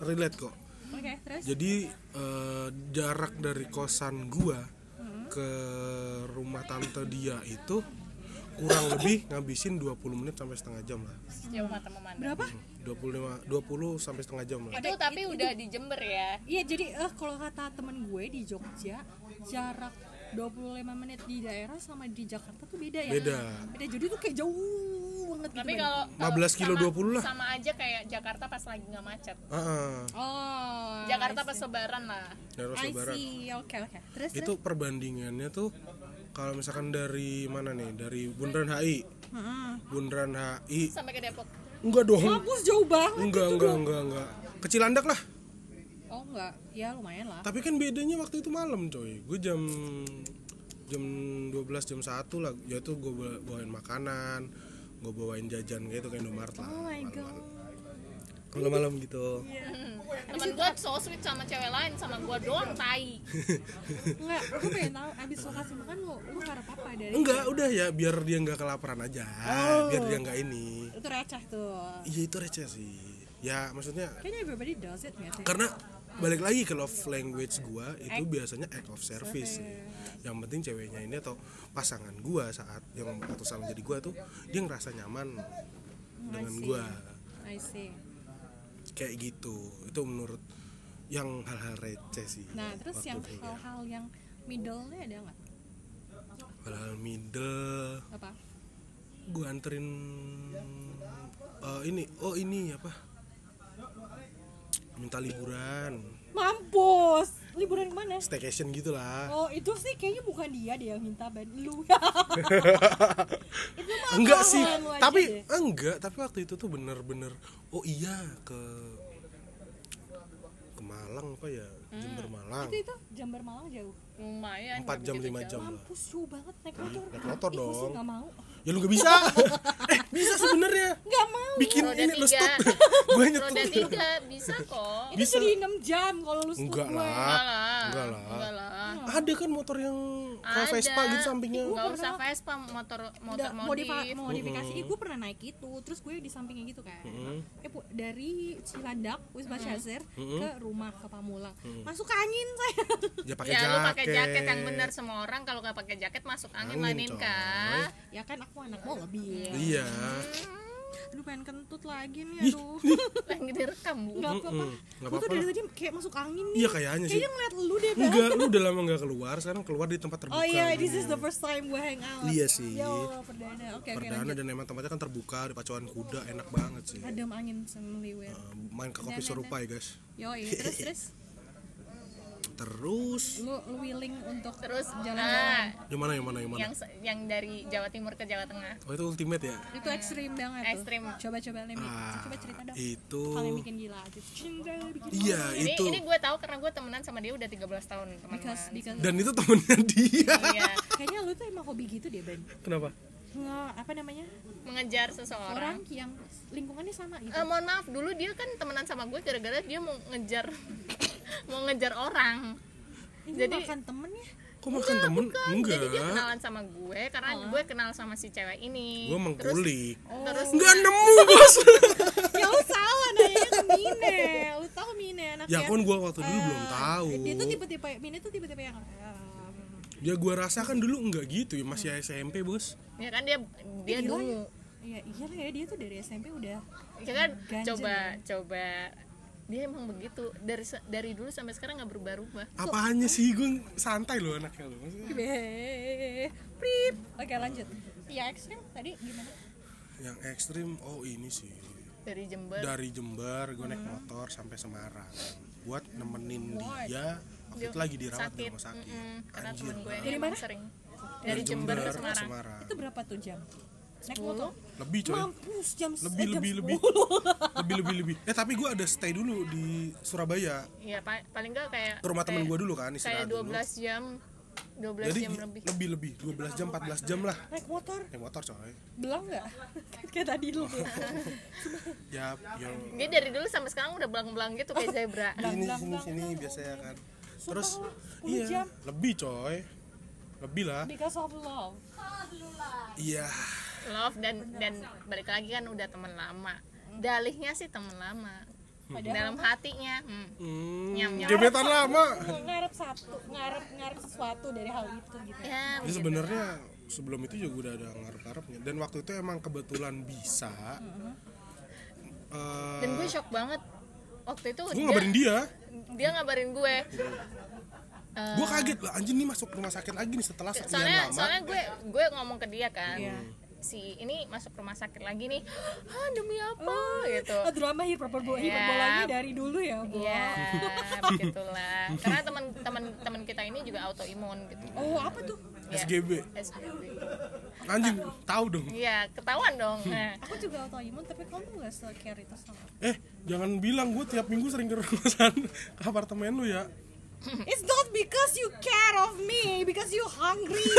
Speaker 1: relate kok
Speaker 2: Oke, terus
Speaker 1: Jadi eh, jarak dari kosan gua ke rumah tante dia itu kurang lebih ngabisin 20 menit sampai setengah jam lah.
Speaker 3: sejauh mata memandang
Speaker 2: berapa?
Speaker 1: 25 20 sampai setengah jam lah.
Speaker 3: itu tapi udah di Jember ya
Speaker 2: Iya, jadi eh kalau kata temen gue di Jogja, jarak 25 menit di daerah sama di Jakarta tuh beda ya.
Speaker 1: Beda.
Speaker 2: Beda. Jadi tuh kayak jauh banget gitu.
Speaker 3: tapi
Speaker 2: Ben.
Speaker 3: kalau
Speaker 1: 15 kilo 20
Speaker 3: sama-
Speaker 1: lah.
Speaker 3: sama aja kayak Jakarta pas lagi nggak macet
Speaker 1: Heeh.
Speaker 2: Oh.
Speaker 1: Nah,
Speaker 3: Jakarta
Speaker 2: I
Speaker 3: pas
Speaker 2: see.
Speaker 3: lebaran lah
Speaker 1: Daerah
Speaker 2: I
Speaker 1: Sebarat.
Speaker 2: see. Oke, oke. Terus
Speaker 1: Itu perbandingannya tuh kalau misalkan dari mana nih? Dari Bundaran HI.
Speaker 2: Hmm.
Speaker 1: Bundaran HI.
Speaker 3: sampai ke Depok
Speaker 1: Enggak dong.
Speaker 2: Kampus jauh banget.
Speaker 1: Enggak, enggak, enggak, enggak. Ke Cilandak lah.
Speaker 2: Oh enggak, ya lumayan lah.
Speaker 1: Tapi kan bedanya waktu itu malam coy Gue jam jam 12 jam 1 lah Ya itu gue bawain makanan Gue bawain jajan gitu kayak Indomaret lah
Speaker 2: Oh my
Speaker 1: malam-malam.
Speaker 2: god.
Speaker 1: Kalau malam gitu
Speaker 3: Hmm. temen gue so sweet sama cewek lain sama gue doang tai
Speaker 2: Enggak, gue pengen tahu abis lo kasih makan lo, lo harap apa dari
Speaker 1: Enggak udah ya biar dia nggak kelaparan aja Biar dia nggak ini
Speaker 2: itu receh tuh.
Speaker 1: Iya itu receh sih Ya maksudnya
Speaker 2: Kayaknya everybody does it nggak sih?
Speaker 1: karena balik lagi ke love language gua itu biasanya act of service sih. yang penting ceweknya ini atau pasangan gua saat yang atau saling jadi gua tuh dia ngerasa nyaman dengan
Speaker 2: see.
Speaker 1: gua
Speaker 2: I see.
Speaker 1: kayak gitu itu menurut yang hal-hal receh sih
Speaker 2: Nah, terus
Speaker 1: waktu iya.
Speaker 2: yang
Speaker 1: kuliah.
Speaker 2: hal-hal yang middle-nya ada nggak?
Speaker 1: hal-hal middle
Speaker 2: Apa?
Speaker 1: gue anterin eh, ini oh ini apa minta liburan
Speaker 2: Mampus! Liburan kemana?
Speaker 1: staycation gitu gitulah
Speaker 2: Oh, itu sih kayaknya bukan dia deh yang minta ban lu. itu mah
Speaker 1: enggak
Speaker 2: akal
Speaker 1: sih
Speaker 2: lu aja deh.
Speaker 1: tapi enggak tapi waktu itu tuh bener-bener oh iya ke ke Malang apa ya Jember Malang
Speaker 2: itu itu Jember Malang jauh.
Speaker 3: lumayan gitu.
Speaker 1: empat
Speaker 3: nggak
Speaker 1: jam
Speaker 3: begitu
Speaker 1: lima
Speaker 3: kan jauh.
Speaker 1: jam lah
Speaker 2: Mampus jauh banget naik motor.
Speaker 1: naik motor
Speaker 2: Ih, gue sih
Speaker 1: dong.
Speaker 2: nggak mau.
Speaker 1: ya lu gak bisa eh bisa sebenarnya
Speaker 2: Nggak mau.
Speaker 1: bikin
Speaker 3: Roda
Speaker 1: ini lu
Speaker 3: tiga.
Speaker 1: stop gue
Speaker 3: roda
Speaker 1: nyetir
Speaker 3: tiga bisa kok
Speaker 2: Itu
Speaker 1: Bisa.
Speaker 2: jadi 6 jam kalau lu stop
Speaker 1: enggak
Speaker 2: gue.
Speaker 1: lah
Speaker 3: enggak lah
Speaker 1: enggak lah.
Speaker 3: enggak lah
Speaker 1: ada kan motor yang kayak
Speaker 3: Ada. Iya,
Speaker 1: Vespa gitu sampingnya
Speaker 3: nggak usah Vespa motor motor
Speaker 2: Udah,
Speaker 3: modif
Speaker 2: modifa- modifikasi Ih, gue pernah naik itu terus gue di sampingnya gitu kan eh, pu- dari Cilandak Wisma Chaser ke rumah ke Pamulang masuk ke angin saya
Speaker 1: dia pakai
Speaker 3: ya lu
Speaker 1: jaket
Speaker 3: pakai jaket yang benar semua orang kalau nggak pakai jaket masuk angin
Speaker 1: Angin,
Speaker 3: kan? lah Nin,
Speaker 1: coy.
Speaker 3: Kak.
Speaker 2: ya kan aku anak mobil
Speaker 1: iya
Speaker 2: aduh pengen kentut lagi nih
Speaker 1: Ih,
Speaker 2: aduh
Speaker 3: lagi direkam bu
Speaker 2: nggak apa-apa
Speaker 1: Mm-mm, nggak
Speaker 2: gue tuh
Speaker 1: apa-apa
Speaker 2: dari
Speaker 1: lah.
Speaker 2: tadi kayak masuk angin nih
Speaker 1: Iya, kayaknya sih.
Speaker 2: kayaknya ngeliat lu deh Bang.
Speaker 1: Enggak, lu udah lama nggak keluar, sekarang keluar di tempat terbuka.
Speaker 2: oh iya
Speaker 1: gitu.
Speaker 2: this is the first time gue hang out
Speaker 1: Iya sih.
Speaker 2: ya Allah, perdana oke oke
Speaker 1: Perdana
Speaker 2: lanjut
Speaker 1: dan emang tempatnya kan terbuka, ada pacuan kuda, enak banget sih.
Speaker 2: adem angin semeliwir
Speaker 1: Eh, main ke kopi serupai guys.
Speaker 2: yo terus terus
Speaker 1: Terus,
Speaker 2: lu, lu willing untuk
Speaker 3: terus
Speaker 2: Jalan-jalan.
Speaker 3: nah,
Speaker 1: yang mana yang mana yang mana?
Speaker 3: yang se- yang dari Jawa Timur ke Jawa Tengah
Speaker 1: Oh itu ultimate ya?
Speaker 2: itu ekstrim banget
Speaker 3: Ekstrim.
Speaker 2: tuh coba coba lem
Speaker 1: Ah,
Speaker 2: coba cerita dong
Speaker 1: itu.
Speaker 2: kalau yang bikin gila aja cinta bikin
Speaker 1: Iya
Speaker 3: ini
Speaker 1: itu.
Speaker 3: ini gue tahu karena gue temenan sama dia udah 13 tahun teman
Speaker 2: Because- because-
Speaker 1: Dan itu temennya dia.
Speaker 3: iya
Speaker 2: kayaknya lu tuh emang hobi gitu deh Ben
Speaker 1: Kenapa?
Speaker 2: nge apa namanya
Speaker 3: mengejar
Speaker 2: orang
Speaker 3: seseorang
Speaker 2: yang lingkungannya sama gitu
Speaker 3: Eh, mohon maaf dulu dia kan temenan sama gue gara-gara dia mau ngejar mau ngejar orang
Speaker 2: ini
Speaker 3: jadi-
Speaker 2: makan temennya
Speaker 1: Kok makan temen?
Speaker 3: Bukan,
Speaker 1: Enggak.
Speaker 3: jadi dia kenalan sama gue karena
Speaker 2: Oh.
Speaker 3: gue kenal sama si cewek ini
Speaker 1: Gue mengkulik.
Speaker 3: terus
Speaker 2: Oh.
Speaker 1: Enggak nemu bos.
Speaker 2: ya lu salah nanya ke Mine lu tahu Mine anak
Speaker 1: ya kan gue waktu dulu
Speaker 3: Eh,
Speaker 1: belum tahu.
Speaker 2: dia tuh tipe-tipe Mine tuh tipe-tipe yang um,
Speaker 1: Ya gue rasakan dulu enggak gitu ya masih SMP bos.
Speaker 3: ya kan dia dia
Speaker 2: gila
Speaker 3: dulu
Speaker 2: ya iya lah ya dia tuh dari SMP udah
Speaker 3: ya kan
Speaker 2: Ganjen.
Speaker 3: coba coba dia emang begitu dari se- dari dulu sampai sekarang nggak berubah-ubah
Speaker 1: Apaannya sih gue santai loh anaknya loh. Maksudnya,
Speaker 2: Beh, prip oke lanjut ya ekstrim tadi gimana
Speaker 1: Yang ekstrim oh ini sih
Speaker 3: dari Jember
Speaker 1: dari Jember gue
Speaker 3: Hmm.
Speaker 1: naik motor sampai Semarang buat nemenin dia waktu itu lagi dirawat di
Speaker 3: sakit
Speaker 1: rumah sakit.
Speaker 3: Mm-mm, karena
Speaker 1: Anjir.
Speaker 3: temen gue ini
Speaker 2: Dari
Speaker 3: emang
Speaker 2: mana?
Speaker 3: sering dari Jember ke Semarang
Speaker 2: itu berapa tuh jam naik motor
Speaker 1: Lebih coy.
Speaker 2: mampus jam s-
Speaker 1: Lebih,
Speaker 2: eh, jam
Speaker 1: lebih, lebih.
Speaker 2: 10.
Speaker 1: lebih lebih lebih eh tapi gue ada stay dulu di Surabaya
Speaker 3: ya pa- paling nggak kayak
Speaker 1: ke rumah temen
Speaker 3: kayak-
Speaker 1: gue dulu kan
Speaker 3: kayak
Speaker 1: istirahat dulu
Speaker 3: 12 jam 12
Speaker 1: jadi
Speaker 3: jam
Speaker 1: i-
Speaker 3: lebih
Speaker 1: lebih lebih 12 jam 14 jam lah
Speaker 2: naik motor
Speaker 1: naik motor coy
Speaker 2: belang nggak kayak tadi lu tuh
Speaker 1: ya yo
Speaker 3: dia dari dulu sampai sekarang udah belang-belang gitu kayak zebra
Speaker 1: ini sini sini biasanya kan terus
Speaker 2: Sumpah, 10
Speaker 1: iya
Speaker 2: jam.
Speaker 1: lebih coy lebih lah
Speaker 2: because of love
Speaker 1: iya
Speaker 3: love dan dan balik lagi kan udah teman lama dalihnya sih teman lama dalam hatinya hmm.
Speaker 1: hmm,
Speaker 3: Nyam, nyam.
Speaker 1: gebetan lama
Speaker 2: ngarep satu ngarep ngarep sesuatu dari hal itu gitu
Speaker 3: ya
Speaker 1: Jadi sebenarnya sebelum itu juga udah ada ngarep-ngarepnya dan waktu itu emang kebetulan bisa Eh,
Speaker 3: Mm-hmm. dan gue shock banget waktu itu
Speaker 1: gue
Speaker 3: dia Ah.
Speaker 1: ngabarin dia
Speaker 3: dia ngabarin gue
Speaker 1: gue kaget lah anjir nih masuk rumah sakit lagi nih setelah sekian
Speaker 3: soalnya
Speaker 1: lama
Speaker 3: soalnya gue gue ngomong ke dia kan
Speaker 2: Iya.
Speaker 3: si ini masuk rumah sakit lagi nih ah demi apa gitu
Speaker 2: Oh, drama hiperbola
Speaker 1: Iya.
Speaker 2: hiperbolanya dari dulu ya bu
Speaker 3: Iya, begitulah. Karena teman-teman teman kita ini juga autoimun gitu.
Speaker 2: oh apa tuh
Speaker 3: Ya.
Speaker 1: SGB
Speaker 3: SPB.
Speaker 1: anjing tahu dong
Speaker 3: Iya, ketahuan dong. Nah,
Speaker 2: aku juga autoimun tapi kamu nggak secare itu sama aku.
Speaker 1: eh jangan bilang gue tiap minggu sering ke rumah sana ke apartemen lu ya
Speaker 2: it's not because you care of me because you hungry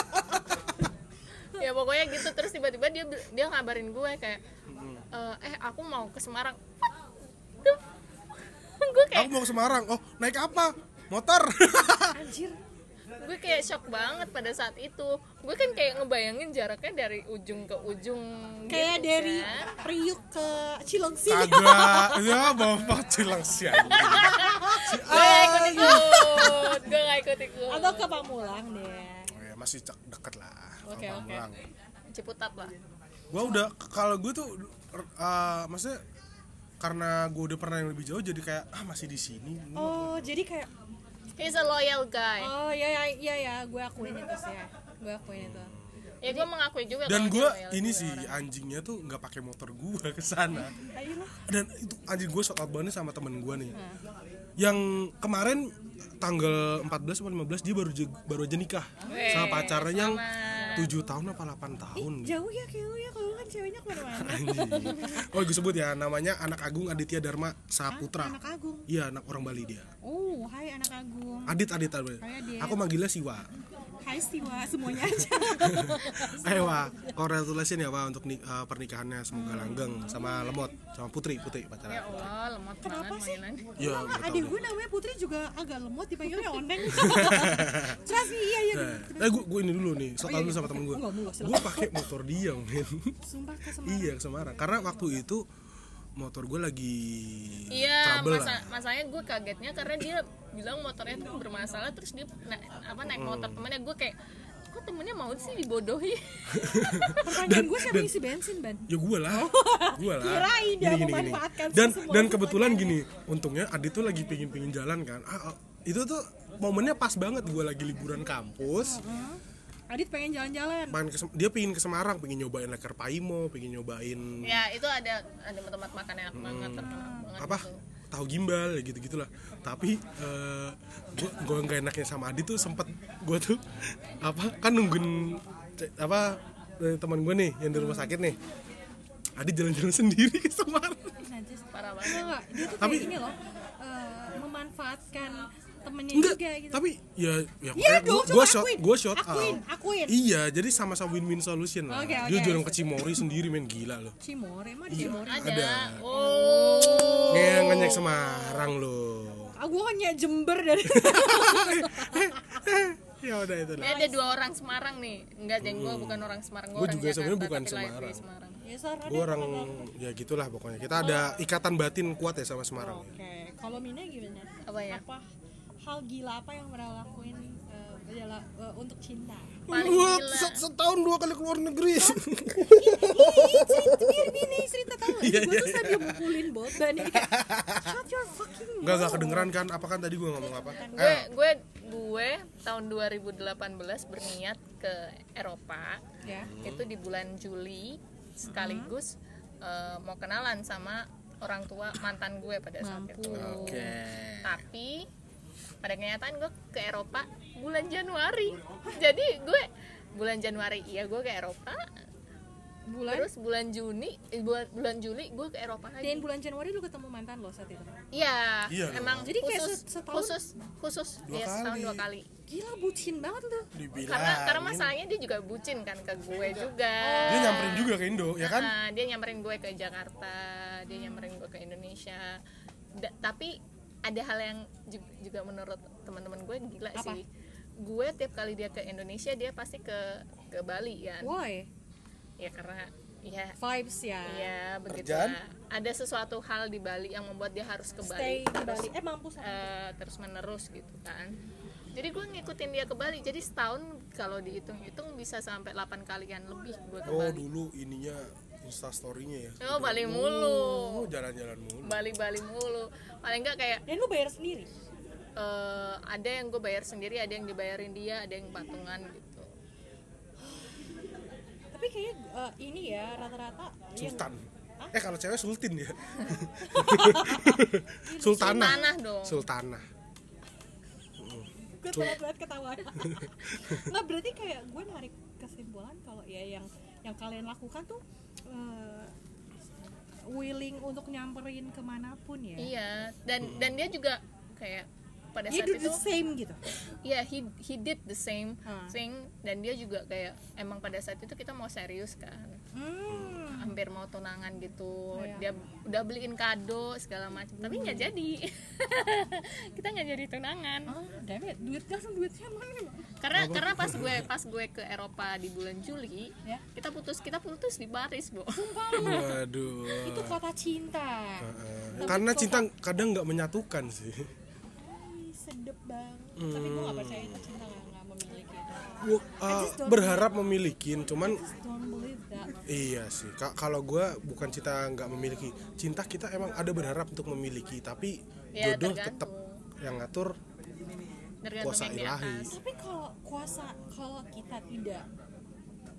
Speaker 3: ya pokoknya gitu terus tiba-tiba dia dia ngabarin gue kayak "Eh, eh aku mau ke Semarang. What the fuck? gue kayak
Speaker 1: aku mau ke Semarang oh naik apa motor
Speaker 2: anjir
Speaker 3: gue kayak shock banget pada saat itu. Gue kan kayak ngebayangin jaraknya dari ujung ke ujung
Speaker 2: kayak
Speaker 3: gitu
Speaker 2: dari
Speaker 3: kan.
Speaker 2: Priuk ke Cilengsi
Speaker 1: kagak ya bapak cilang si anjing.
Speaker 3: Gue gak ikut-ikut. Gue gak ikut-ikut.
Speaker 2: Iya, atau ke Pamulang deh
Speaker 1: oh, ya, masih cek deket lah
Speaker 3: Oke,
Speaker 1: sama
Speaker 3: oke.
Speaker 1: Pamulang.
Speaker 3: Ciputat lah.
Speaker 1: gue udah kalau gue tuh eh, maksudnya karena gue udah pernah yang lebih jauh jadi kayak ah masih di sini
Speaker 2: oh jadi kayak
Speaker 3: He's a loyal guy.
Speaker 2: oh ya ya ya ya gue akuin itu sih ya gue akuin itu
Speaker 3: Ya gue mengakui juga
Speaker 1: dan
Speaker 3: kalau
Speaker 1: gue
Speaker 3: dia loyal
Speaker 1: ini
Speaker 3: juga
Speaker 1: sih
Speaker 3: orang.
Speaker 1: anjingnya tuh nggak pakai motor gue ke sana
Speaker 2: ayolah
Speaker 1: dan itu anjing gue shout out banget sama temen gue nih yang kemarin tanggal 14 atau 15 dia baru je- baru aja nikah
Speaker 3: Weh,
Speaker 1: sama pacarnya yang
Speaker 3: selamat.
Speaker 1: 7 tahun apa 8 tahun gitu.
Speaker 2: jauh ya kayak lu ya kalau lu kan ceweknya kemana-mana
Speaker 1: Anjing. Oh, gue sebut ya namanya Anak Agung Aditya Dharma Saputra.
Speaker 2: anak Agung
Speaker 1: Iya, anak orang Bali dia.
Speaker 2: oh hai anak Agung
Speaker 1: Adit Adit Adit.
Speaker 2: Hai, Adit.
Speaker 1: Aku manggilnya Siwa.
Speaker 2: hai Siwa semuanya aja
Speaker 1: Eh, Wa, congratulations ya, Wa, untuk ni- eh, pernikahannya semoga langgeng sama Lemot, sama Putri, Putri
Speaker 3: Ya
Speaker 1: pacarnya.
Speaker 3: Allah, lemot
Speaker 2: Kenapa
Speaker 3: banget
Speaker 2: sih?
Speaker 3: mainannya.
Speaker 1: Ya,
Speaker 2: Sama
Speaker 1: nggak tahu
Speaker 2: adik
Speaker 1: deh.
Speaker 2: gue namanya Putri juga agak lemot dipanggilnya Oneng Terus nih iya iya
Speaker 1: Nah, eh gue gue ini dulu nih, soal dulu sama temen gue.
Speaker 2: Enggak, enggak, silakan.
Speaker 1: Gue pakai motor dia, men.
Speaker 2: sumpah ke Semarang
Speaker 1: iya, ke Semarang. Karena waktu itu motor gue lagi
Speaker 3: Iya,
Speaker 1: trouble
Speaker 3: masa,
Speaker 1: lah.
Speaker 3: masanya gue
Speaker 1: Hmm.
Speaker 3: kagetnya karena dia bilang motornya tuh bermasalah terus dia na- apa naik motor temannya gue kayak kok temennya mau sih dibodohi
Speaker 1: Hmm.
Speaker 2: pertanyaan gue siapa yang isi bensin ban
Speaker 1: ya gue lah gue lah
Speaker 2: Oh, Kirain dia memanfaatkan
Speaker 1: dan
Speaker 2: semua
Speaker 1: dan kebetulan gini untungnya Adi tuh lagi pingin pingin jalan kan Ah, ah, itu tuh momennya pas banget gue lagi liburan kampus
Speaker 2: Mm-hmm. Adit pengen jalan-jalan
Speaker 1: main ke Sem- dia pingin ke Semarang pingin nyobain leker paimo pingin nyobain
Speaker 3: ya itu ada ada tempat makan enak banget terkenal banget
Speaker 1: Hmm. apa
Speaker 3: gitu.
Speaker 1: tahu gimbal ya gitu gitulah tapi eh, gua gue nggak enaknya sama Adi tuh sempet gue tuh apa kan nungguin ce- apa eh, teman gue nih yang di rumah sakit nih Adi jalan-jalan sendiri ke Semarang
Speaker 2: Najis.
Speaker 3: parah banget
Speaker 2: Enggak, enggak. dia tuh
Speaker 1: Tapi-
Speaker 2: kayak ini loh eh, memanfaatkan temennya
Speaker 1: enggak
Speaker 2: juga gitu
Speaker 1: tapi ya ya
Speaker 2: Iya dong, coba
Speaker 1: gue shot
Speaker 2: akuin.
Speaker 1: gue shot
Speaker 2: Akuin,
Speaker 1: out.
Speaker 2: akuin.
Speaker 1: iya jadi sama-sama win-win solution lah
Speaker 2: Oke, oke.
Speaker 1: dia jualan ke Cimori sendiri main gila loh
Speaker 2: Cimore, emang
Speaker 1: Iya.
Speaker 2: ada Cimore
Speaker 3: ada,
Speaker 1: Ada.
Speaker 3: oh
Speaker 1: Ngeyang ngenyek Semarang loh
Speaker 2: ah, gue kan ya Jember dari
Speaker 1: ya udah itu
Speaker 3: Ini
Speaker 1: lah
Speaker 3: ada dua orang Semarang nih enggak jeng gue bukan orang Semarang
Speaker 1: Hmm.
Speaker 3: gue
Speaker 1: Gua
Speaker 3: orang
Speaker 1: juga
Speaker 3: Jakarta
Speaker 1: sebenarnya bukan
Speaker 3: tapi lahir di
Speaker 1: Semarang.
Speaker 3: Semarang
Speaker 2: ya Sar, ada
Speaker 1: gue orang
Speaker 2: apa-apa?
Speaker 1: ya gitulah pokoknya kita ada ikatan batin kuat ya sama Semarang
Speaker 2: oke kalau Mina gimana
Speaker 3: Apa ya?
Speaker 2: hal gila apa yang pernah lakuin eh, adalah eh, untuk cinta
Speaker 3: Paling
Speaker 1: Gua
Speaker 3: gila.
Speaker 1: se- setahun dua kali keluar negeri
Speaker 2: biar Mina cerita tahu
Speaker 1: Iya,
Speaker 2: gue
Speaker 1: iya,
Speaker 2: tuh sambil mukulin boba nih kayak shut your fucking mouth
Speaker 1: nggak nggak kedengeran kan apa kan tadi gue ngomong apa
Speaker 3: gue gue gue tahun 2018 berniat ke Eropa
Speaker 2: ya
Speaker 3: itu di bulan Juli sekaligus eh, mau kenalan sama orang tua mantan gue pada saat itu
Speaker 1: oke
Speaker 3: tapi pada kenyataan gue ke Eropa bulan Januari jadi gue bulan Januari iya gue ke Eropa
Speaker 2: bulan
Speaker 3: terus bulan Juni eh, bulan bulan Juli gue ke Eropa
Speaker 2: dan
Speaker 3: lagi
Speaker 2: bulan Januari lu ketemu mantan lo saat itu
Speaker 3: iya
Speaker 1: Iya.
Speaker 3: emang
Speaker 2: Jadi kayak
Speaker 3: khusus,
Speaker 2: se- setahun?
Speaker 3: khusus khusus
Speaker 1: Dua
Speaker 3: iya, setahun
Speaker 1: kali.
Speaker 3: dua kali
Speaker 2: gila bucin banget lu
Speaker 1: dibilang
Speaker 3: karena karena masalahnya dia juga bucin kan ke gue
Speaker 2: Iya.
Speaker 3: juga
Speaker 1: dia nyamperin juga ke Indo ya kan
Speaker 3: Nah, dia nyamperin gue ke Jakarta, dia nyamperin gue ke Indonesia. Da- tapi ada hal yang ju- juga menurut teman-teman gue gila
Speaker 2: Apa?
Speaker 3: sih. Gue tiap kali dia ke Indonesia dia pasti ke ke Bali kan.
Speaker 2: why
Speaker 3: Ya karena ya
Speaker 2: vibes ya
Speaker 3: ya begitu.
Speaker 1: Kerjaan?
Speaker 3: lah. Ada sesuatu hal di Bali yang membuat dia harus ke
Speaker 2: stay
Speaker 3: Bali.
Speaker 2: di Bali eh mampus aku.
Speaker 3: terus menerus gitu kan. Jadi gue ngikutin dia ke Bali. Jadi setahun kalau dihitung-hitung bisa sampai 8 kalian lebih gue ke
Speaker 1: oh
Speaker 3: Bali.
Speaker 1: dulu ininya instastorynya ya
Speaker 3: Oh, Bali mulu.
Speaker 1: oh jalan-jalan mulu
Speaker 3: Bali-Bali mulu. Paling enggak kayak
Speaker 2: dan lu bayar sendiri
Speaker 3: eh, ada yang gue bayar sendiri, ada yang dibayarin dia, ada yang patungan gitu.
Speaker 2: tapi kayaknya eh, ini ya rata-rata yang
Speaker 1: sultan eh kalau cewek sultin ya sultanah
Speaker 3: Tanah dong.
Speaker 1: sultanah
Speaker 2: gue telat banget ketawa nggak berarti kayak gue narik kesimpulan kalau ya yang yang kalian lakukan tuh eh, willing untuk nyamperin kemanapun ya
Speaker 3: Iya, dan dan dia juga kayak pada
Speaker 2: you
Speaker 3: saat
Speaker 2: do
Speaker 3: itu
Speaker 2: the same gitu
Speaker 3: ya he he did the same
Speaker 2: Hmm.
Speaker 3: thing dan dia juga kayak emang pada saat itu kita mau serius kan.
Speaker 2: hmm.
Speaker 3: Hampir mau tunangan gitu.
Speaker 2: Iya.
Speaker 3: Dia udah beliin kado segala macam, tapi nggak jadi. kita nggak jadi tunangan.
Speaker 2: ah damn it duit gas sama duitnya mana ya? Mak?
Speaker 3: Karena karena pas gue pas gue ke Eropa di bulan Juli,
Speaker 2: ya
Speaker 3: kita putus kita putus di baris bu
Speaker 1: waduh
Speaker 2: itu kota cinta
Speaker 1: Eh, karena cinta kadang nggak menyatukan sih
Speaker 2: Ih, sedep banget tapi gue gak percaya itu cinta gak, gak memiliki itu
Speaker 1: Gua, ah, berharap memiliki cuman
Speaker 2: don't believe that
Speaker 1: Iya sih. Ka- Kalau gua bukan cinta nggak memiliki, cinta kita emang ada berharap untuk memiliki, tapi
Speaker 3: Ya,
Speaker 1: jodoh
Speaker 3: tergantung.
Speaker 1: tetap yang ngatur
Speaker 3: tergantung
Speaker 1: kuasa
Speaker 3: yang di
Speaker 1: ilahi.
Speaker 3: atas
Speaker 2: tapi kalau kuasa kalau kita tidak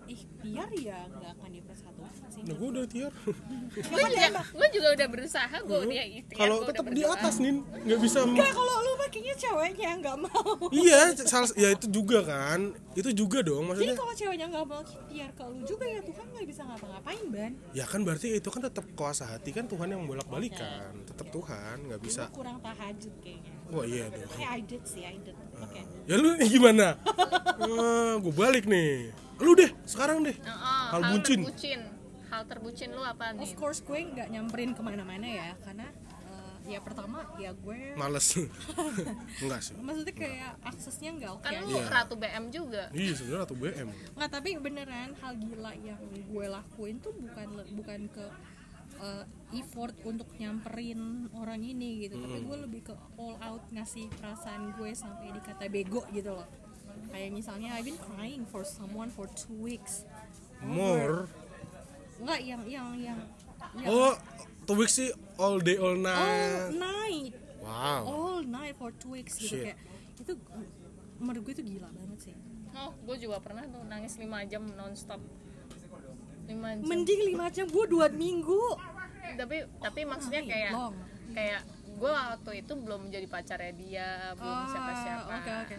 Speaker 2: ikhtiar ya nggak akan dipersatukan sih
Speaker 1: Nah, gua udah tiar.
Speaker 2: Iya,
Speaker 3: gue juga, gue juga udah berusaha gue
Speaker 1: Hmm.
Speaker 3: dia ikhtiar
Speaker 1: Kalau
Speaker 3: gue gitu ya, udah
Speaker 1: tetap di
Speaker 3: berdoa.
Speaker 1: atas nih, nggak bisa. mem-
Speaker 2: Enggak, kalau lu pakainya ceweknya yang nggak mau
Speaker 1: iya, c- salah, ya itu juga kan, itu juga dong
Speaker 2: jadi
Speaker 3: Iya,
Speaker 1: maksudnya.
Speaker 2: kalau ceweknya nggak mau ikhtiar ke lu juga ya Tuhan nggak bisa ngapa-ngapain ban
Speaker 1: Ya kan berarti itu kan tetap kuasa hati kan Tuhan yang bolak balikan,
Speaker 3: Iya.
Speaker 1: tetap Tuhan nggak
Speaker 2: lu
Speaker 1: bisa.
Speaker 2: kurang tahajud kayaknya
Speaker 1: Wah iya dong.
Speaker 2: eh I did sih I did oke
Speaker 1: Ya lu nih gimana? Eh, gua balik nih. Lu deh, sekarang deh.
Speaker 3: Oh, oh,
Speaker 1: Hal bucin.
Speaker 3: terbucin hal terbucin lu apa
Speaker 2: of
Speaker 3: nih
Speaker 2: course gue nggak nyamperin kemana-mana ya karena eh, ya pertama ya gue
Speaker 1: Males. Enggak sih.
Speaker 2: maksudnya kayak aksesnya nggak oke
Speaker 3: kan lu
Speaker 1: Iya.
Speaker 3: ratu BM juga
Speaker 1: Iya sebenarnya atau BM.
Speaker 2: nggak tapi beneran hal gila yang gue lakuin tuh bukan le- bukan ke eh, effort untuk nyamperin orang ini gitu tapi gue lebih ke all out ngasih perasaan gue sampai dikata bego gitu loh kayak misalnya I've been crying for someone for two weeks
Speaker 1: more
Speaker 2: enggak yang yang yang, yang
Speaker 1: oh two weeks sih all day all
Speaker 2: all
Speaker 1: night
Speaker 2: night
Speaker 1: wow
Speaker 2: all night for two weeks gitu
Speaker 1: Shit.
Speaker 2: kayak itu menurut gue itu gila banget sih
Speaker 3: oh gue juga pernah tuh nangis 5 jam nonstop 5 jam
Speaker 2: mending lima jam gue dua minggu
Speaker 3: tapi tapi maksudnya
Speaker 2: my
Speaker 3: kayak
Speaker 2: Oh, long.
Speaker 3: kayak gue waktu itu belum menjadi pacarnya dia belum
Speaker 2: Ah,
Speaker 3: siapa-siapa
Speaker 2: oke, oke.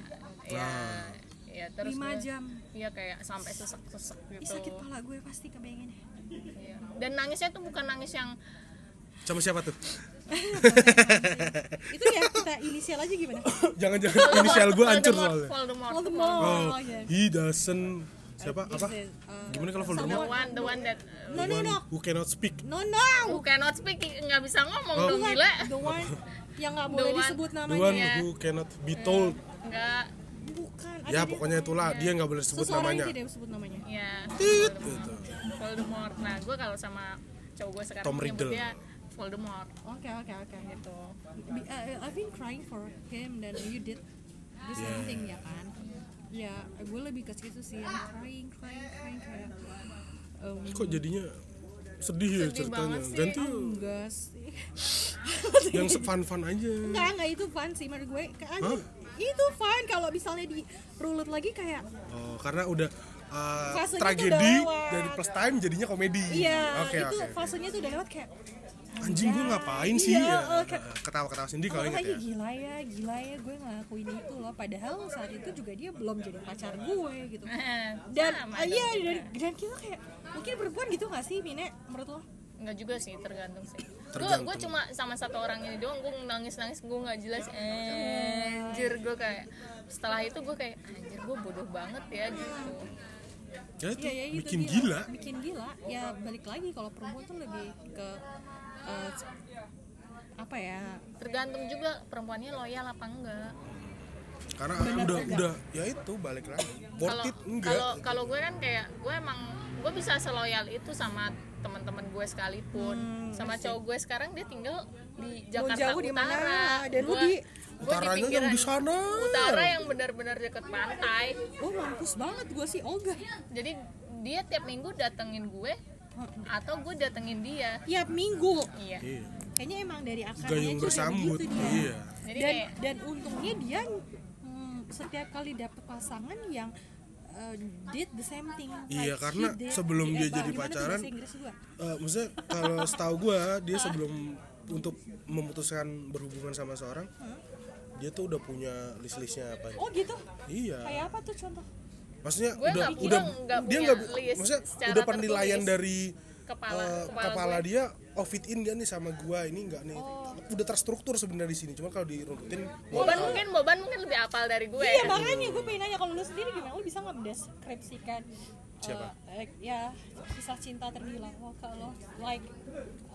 Speaker 3: ya ya terus
Speaker 2: Lima
Speaker 3: gua-
Speaker 2: jam.
Speaker 3: iya kayak sampai sesek-sesek
Speaker 2: Ih,
Speaker 3: gitu
Speaker 2: sakit pala gue pasti kebayangin
Speaker 3: Iya. dan nangisnya tuh bukan nangis yang
Speaker 1: sama siapa tuh
Speaker 2: itu ya kita inisial aja gimana
Speaker 1: jangan jangan inisial gue hancur
Speaker 3: Voldemort,
Speaker 1: soalnya
Speaker 3: Voldemort,
Speaker 2: Voldemort
Speaker 1: oh
Speaker 2: oh ya
Speaker 1: he doesn't siapa apa
Speaker 2: Is it, uh,
Speaker 1: gimana kalau
Speaker 3: The
Speaker 1: Voldemort
Speaker 3: one, the one that uh,
Speaker 2: no no
Speaker 1: One
Speaker 2: no
Speaker 1: who cannot speak
Speaker 2: no no
Speaker 3: who cannot speak, nggak bisa ngomong
Speaker 1: Oh.
Speaker 3: dong
Speaker 2: Bukan,
Speaker 3: gila.
Speaker 2: the one yang nggak boleh
Speaker 3: one-
Speaker 2: disebut
Speaker 1: the one
Speaker 2: namanya
Speaker 3: Iya.
Speaker 1: who cannot be told
Speaker 3: Nggak,
Speaker 2: bukan ada
Speaker 1: ya
Speaker 2: dia- Iya.
Speaker 1: pokoknya itulah dia nggak boleh sebut
Speaker 2: seseorang
Speaker 1: namanya
Speaker 2: yang tidak disebut namanya
Speaker 3: ya
Speaker 1: Tit, gitu.
Speaker 3: Voldemort. Nah, gue kalau sama cowok gue sekarang
Speaker 1: Tom
Speaker 3: nyebut
Speaker 1: Riddle.
Speaker 3: dia Voldemort
Speaker 2: oke oke oke
Speaker 3: gitu.
Speaker 2: Be- uh, I've been crying for him dan you did the same
Speaker 1: Yeah.
Speaker 2: thing ya kan ya gue lebih ke situ sih yang crying crying crying kayak um,
Speaker 1: kok jadinya sedih ya
Speaker 3: Sedih
Speaker 1: ceritanya
Speaker 3: banget sih.
Speaker 1: ganti
Speaker 2: enggak sih
Speaker 1: yang fun fun aja
Speaker 2: enggak enggak itu fun sih menurut gue Kayak anjing, itu fun kalau misalnya di rulut lagi kayak
Speaker 1: oh, karena udah uh,
Speaker 2: Fasenya tuh
Speaker 1: tragedi
Speaker 2: udah lewat.
Speaker 1: dari plus time jadinya komedi
Speaker 2: iya
Speaker 1: oke
Speaker 2: itu
Speaker 1: oke
Speaker 2: fasenya tuh udah lewat kayak
Speaker 1: anjing gue ngapain sih ya
Speaker 2: Iya, oke. Oh,
Speaker 1: ketawa ketawa sendiri kalau
Speaker 2: Kalau
Speaker 1: ingat
Speaker 2: lagi
Speaker 1: ya
Speaker 2: gila ya, gila ya gue ngelakuin itu loh. Padahal saat itu juga dia belum jadi pacar gue gitu. Dan
Speaker 3: Nah, Sama
Speaker 2: eh,
Speaker 3: dong
Speaker 2: iya
Speaker 3: kita.
Speaker 2: dan, dan kita kayak mungkin perempuan gitu gak sih Mine menurut lo?
Speaker 3: Nggak juga sih, tergantung sih. Gue
Speaker 1: Tergantung.
Speaker 3: gue cuma sama satu orang ini doang, gue nangis-nangis, gue nggak jelas. Eh, anjir, gue kayak setelah itu gue kayak anjir gue bodoh banget ya gitu.
Speaker 1: ya itu
Speaker 2: Iya ya itu
Speaker 1: bikin
Speaker 2: dia.
Speaker 1: gila
Speaker 2: Bikin gila. Ya balik lagi kalau perempuan tuh lebih ke eh, apa ya?
Speaker 3: Tergantung juga perempuannya loyal apa enggak.
Speaker 1: karena udah udah ya itu balik lagi worth
Speaker 3: Kalau
Speaker 1: it enggak
Speaker 3: kalau kalau gue kan kayak gue emang gue bisa seloyal itu sama teman-teman gue sekalipun.
Speaker 1: Hmm,
Speaker 3: sama cowok gue sekarang dia tinggal di Jakarta
Speaker 2: jauh di
Speaker 3: Utara.
Speaker 2: mana, dan lu
Speaker 3: Gue-
Speaker 2: di-
Speaker 3: gue di
Speaker 1: utaranya yang
Speaker 3: pinggiran
Speaker 1: di sana
Speaker 3: utara yang benar-benar deket pantai.
Speaker 2: Oh mampus banget gue sih Olga.
Speaker 3: Jadi dia tiap minggu datengin gue atau gue datengin dia.
Speaker 2: Tiap minggu.
Speaker 3: Iya.
Speaker 1: Iya.
Speaker 2: Kayaknya emang dari akarnya
Speaker 1: gayung
Speaker 2: tuh udah
Speaker 1: bersambut
Speaker 2: begitu gitu dia.
Speaker 1: iya
Speaker 3: Jadi
Speaker 2: dan
Speaker 3: kayak
Speaker 2: dan untungnya dia mm, setiap kali dapet pasangan yang uh, did the same thing
Speaker 1: Iya,
Speaker 2: he
Speaker 1: karena
Speaker 2: did.
Speaker 1: sebelum dia
Speaker 2: Bah,
Speaker 1: jadi
Speaker 2: gimana tuh
Speaker 1: pacaran,
Speaker 2: bahasa Inggris gua?
Speaker 1: Eh, maksudnya kalau setahu gue
Speaker 2: Ah.
Speaker 1: dia sebelum untuk memutuskan berhubungan sama seorang dia tuh udah punya list listnya apa ya?
Speaker 2: oh gitu
Speaker 1: iya
Speaker 2: kayak apa tuh contoh
Speaker 1: maksudnya
Speaker 3: Gue
Speaker 1: udah
Speaker 3: nggak-
Speaker 1: udah
Speaker 3: gue nggak
Speaker 1: dia
Speaker 3: punya
Speaker 1: nggak bu-
Speaker 3: list
Speaker 1: maksudnya
Speaker 3: secara
Speaker 1: udah penilaian
Speaker 3: tertulis.
Speaker 1: dari
Speaker 3: Kepala-
Speaker 1: eh,
Speaker 3: kepala
Speaker 1: kepala
Speaker 3: gue.
Speaker 1: dia oh fit in gak nih sama gua ini nggak nih
Speaker 2: Oh.
Speaker 1: udah terstruktur sebenarnya di sini cuman kalau dirutin
Speaker 3: Boban mungkin Boban mungkin lebih apal dari gue.
Speaker 2: iya makanya gue pengen nanya kalau lu sendiri gimana lu bisa nggak mendeskripsikan uh,
Speaker 1: Siapa?
Speaker 2: eh, ya kisah cinta terbilang oh, lo kalau like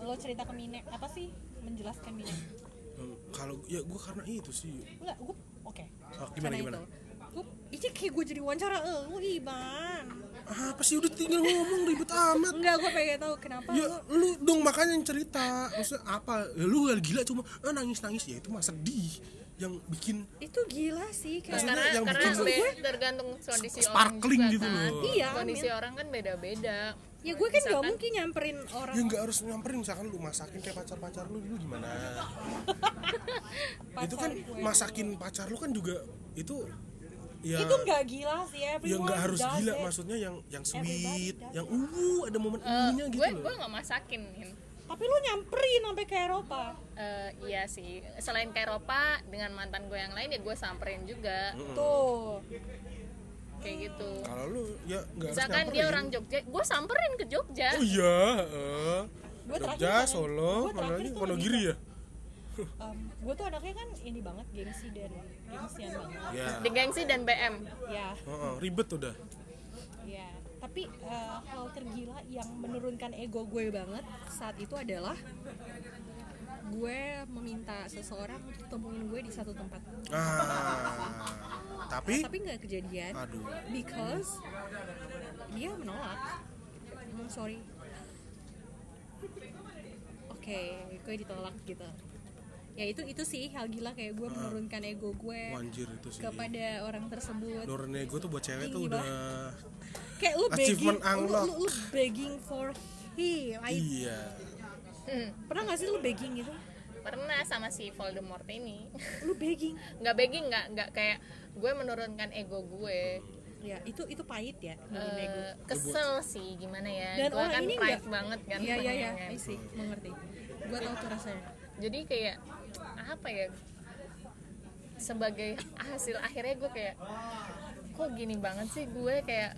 Speaker 2: lo cerita ke Mine apa sih menjelaskan Mine
Speaker 1: eh, kalau ya gua karena itu sih
Speaker 2: enggak gue oke
Speaker 1: Oh, gimana
Speaker 2: Karena
Speaker 1: gimana
Speaker 2: itu gue ini kayak gue jadi wawancara eh, lu Iban
Speaker 1: apa sih udah tinggal ngomong ribet amat
Speaker 2: Enggak, gue pengen tahu kenapa
Speaker 1: ya
Speaker 2: lu
Speaker 1: lu dong makanya yang cerita maksudnya apa Ya, lu gak gila cuma ah, nangis nangis ya itu mah sedih yang bikin
Speaker 2: itu gila sih
Speaker 3: Nah,
Speaker 2: kayak
Speaker 1: Maksudnya
Speaker 3: karena
Speaker 1: yang
Speaker 3: karena
Speaker 1: bikin
Speaker 3: be- tergantung kondisi
Speaker 1: sparkling
Speaker 3: orang
Speaker 1: gitu
Speaker 3: juga, kan.
Speaker 1: loh.
Speaker 2: Iya,
Speaker 3: Kondisi
Speaker 2: Min.
Speaker 3: orang kan beda-beda.
Speaker 2: ya gue kan gak
Speaker 3: Misalkan-
Speaker 2: mungkin nyamperin orang
Speaker 1: ya nggak harus nyamperin misalkan lu masakin kayak pacar pacar lu dulu gimana
Speaker 2: pacar
Speaker 1: itu kan
Speaker 2: gue.
Speaker 1: masakin pacar lu kan juga itu ya
Speaker 2: itu gak gila sih
Speaker 1: ya
Speaker 2: everyone
Speaker 1: nggak harus
Speaker 2: does
Speaker 1: gila
Speaker 2: it.
Speaker 1: maksudnya yang yang
Speaker 2: Everybody
Speaker 1: sweet
Speaker 2: does Eh,
Speaker 1: yang uh ada momen nya gitu
Speaker 3: Eh, gue gue
Speaker 1: loh
Speaker 3: nggak masakin Min.
Speaker 2: tapi lu nyamperin sampai ke Eropa
Speaker 3: Eh, iya sih selain ke Eropa dengan mantan gue yang lain ya gue samperin juga
Speaker 2: tuh
Speaker 3: kayak gitu
Speaker 1: kalau lu ya nggak harus
Speaker 3: misalkan
Speaker 1: nyamperin
Speaker 3: dia orang Jogja gue samperin ke Jogja
Speaker 1: oh iya eh.
Speaker 2: Gua terakhir
Speaker 1: Jogja
Speaker 2: kangen-
Speaker 1: Solo
Speaker 2: gua
Speaker 1: mana
Speaker 2: terakhir
Speaker 1: lagi
Speaker 2: tuh kan,
Speaker 1: Wonogiri ya
Speaker 2: um, gue tuh anaknya kan ini banget gengsi dan gengsian banget
Speaker 1: ya
Speaker 3: di gengsi dan BM
Speaker 2: ya
Speaker 1: Heeh, ribet udah
Speaker 2: ya tapi eh, hal tergila yang menurunkan ego gue banget saat itu adalah gue meminta seseorang untuk temuin gue di satu tempat
Speaker 1: Ah, tapi,
Speaker 2: tapi nggak kejadian
Speaker 1: aduh,
Speaker 2: because dia menolak Hmm, sorry oke gue ditolak gitu ya itu itu sih hal gila kayak gue menurunkan ego gue
Speaker 1: Wanjir itu sih.
Speaker 2: kepada orang tersebut
Speaker 1: Nurunnya gue tuh buat cewek tuh
Speaker 2: Tinggi
Speaker 1: udah
Speaker 2: kayak lu begging
Speaker 1: Achievement
Speaker 2: lu, lu,
Speaker 1: unlock.
Speaker 2: lu begging for him I-
Speaker 1: iya.
Speaker 2: pernah gak sih lu begging gitu
Speaker 3: Hmm. pernah sama si Voldemort ini
Speaker 2: lu begging
Speaker 3: nggak begging nggak nggak kayak gue menurunkan ego gue
Speaker 2: ya itu itu pahit ya
Speaker 3: Eh,
Speaker 2: menurun ego
Speaker 3: kesel sih gimana ya
Speaker 2: dan
Speaker 3: gue
Speaker 2: orang
Speaker 3: kan
Speaker 2: ini
Speaker 3: pride banget kan
Speaker 2: iya iya iya
Speaker 3: orangnya.
Speaker 2: I see mengerti gue tau tuh rasanya
Speaker 3: jadi kayak apa ya sebagai hasil akhirnya gue kayak kok gini banget sih gue kayak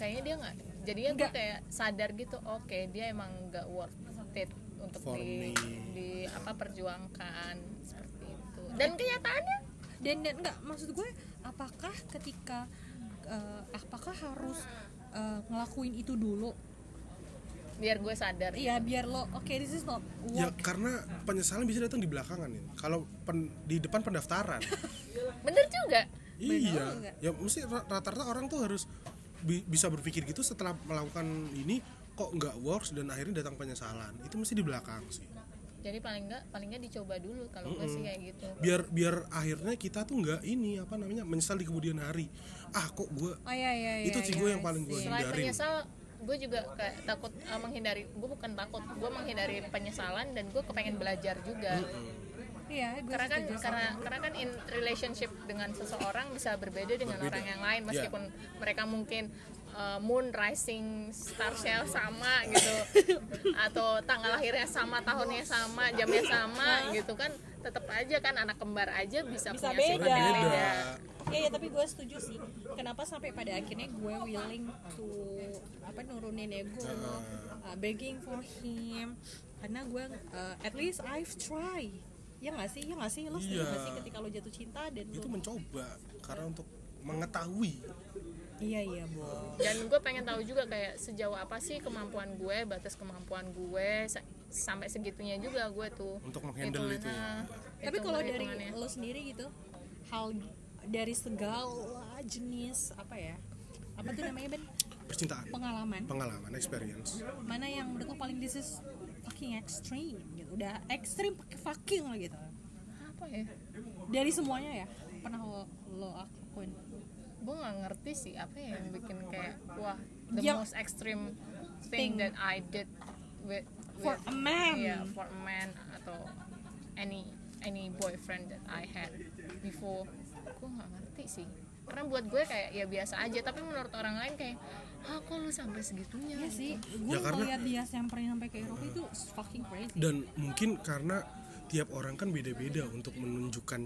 Speaker 3: kayaknya dia nggak jadinya gue
Speaker 2: Nggak.
Speaker 3: kayak sadar gitu oke dia emang nggak worth it untuk
Speaker 1: For me.
Speaker 3: di, di apa perjuangkan seperti itu dan kenyataannya
Speaker 2: dan dan enggak maksud gue apakah ketika eh, apakah harus eh, ngelakuin itu dulu
Speaker 3: biar gue sadar
Speaker 2: iya biar lo oke this is not
Speaker 1: Ya
Speaker 2: work
Speaker 1: karena penyesalan bisa datang di belakangan ya. Kalau pen- di depan pendaftaran.
Speaker 3: bener juga
Speaker 1: iya.
Speaker 2: Bener nggak?
Speaker 1: Ya mesti ra- rata-rata orang tuh harus bi- bisa berpikir gitu setelah melakukan ini kok nggak works dan akhirnya datang penyesalan. Itu mesti di belakang sih.
Speaker 3: jadi paling nggak palingnya dicoba dulu kalau gue sih kayak gitu
Speaker 1: Biar biar akhirnya kita tuh nggak ini apa namanya menyesal di kemudian hari. Ah kok gue
Speaker 2: oh iya iya iya
Speaker 1: itu sih
Speaker 2: iya,
Speaker 1: gue yang
Speaker 2: I
Speaker 1: paling gue
Speaker 2: see.
Speaker 3: selain
Speaker 1: hindarin.
Speaker 3: menyesal gue juga kayak takut eh, menghindari gue bukan takut gue menghindari penyesalan dan gue kepengen belajar juga
Speaker 2: iya gue
Speaker 3: karena kan
Speaker 2: setuju sama
Speaker 3: karena karena kan in relationship dengan seseorang bisa berbeda dengan orang yang lain meskipun mereka mungkin eh, moon rising star shell sama gitu atau tanggal lahirnya sama tahunnya sama jamnya sama gitu kan tetap aja kan anak kembar aja bisa,
Speaker 1: Iya
Speaker 2: Bisa
Speaker 3: punya
Speaker 1: kan
Speaker 3: sifat yang
Speaker 2: beda.
Speaker 3: beda
Speaker 2: Iya, iya, tapi gue setuju sih. Kenapa sampai pada akhirnya gue willing to apa nurunin ego,
Speaker 1: Ah.
Speaker 2: uh, begging for him, karena gue uh, at least I've try. Ya nggak sih, ya nggak sih, lo
Speaker 1: Iya.
Speaker 2: setuju nggak sih ketika lo jatuh cinta dan
Speaker 1: Itu
Speaker 2: lo,
Speaker 1: mencoba karena untuk mengetahui
Speaker 2: iya iya bo.
Speaker 3: dan gue pengen tahu juga kayak sejauh apa sih kemampuan gue batas kemampuan gue sa- sampai segitunya juga gue tuh
Speaker 1: Untuk menghandle itu ya.
Speaker 3: Hitungannya-
Speaker 2: Tapi kalau dari lo
Speaker 3: hitungan-hitungannya.
Speaker 2: sendiri gitu, hal dari segala jenis apa ya, apa tuh namanya ben
Speaker 1: percintaan,
Speaker 2: pengalaman
Speaker 1: pengalaman, experience.
Speaker 2: mana yang menurut lo paling this is fucking extreme gitu udah ekstrim pakai fucking lah gitu
Speaker 3: apa ya
Speaker 2: dari semuanya ya pernah lo, lo akuin
Speaker 3: gue nggak ngerti sih apa ya yang bikin kayak wah the
Speaker 2: Yang-
Speaker 3: most extreme
Speaker 2: Thing.
Speaker 3: thing, that I did with,
Speaker 2: for a
Speaker 3: with-
Speaker 2: man
Speaker 3: yeah, for a man atau any any boyfriend that I had before gue nggak ngerti sih karena buat gue kayak ya biasa aja tapi menurut orang lain kayak ah kok lu sampai segitunya
Speaker 2: Iya sih gue
Speaker 1: Ya, karena-
Speaker 2: ngeliat dia samperin sampai ke Eropa itu fucking crazy
Speaker 1: Dan mungkin karena tiap orang kan beda-beda untuk menunjukkan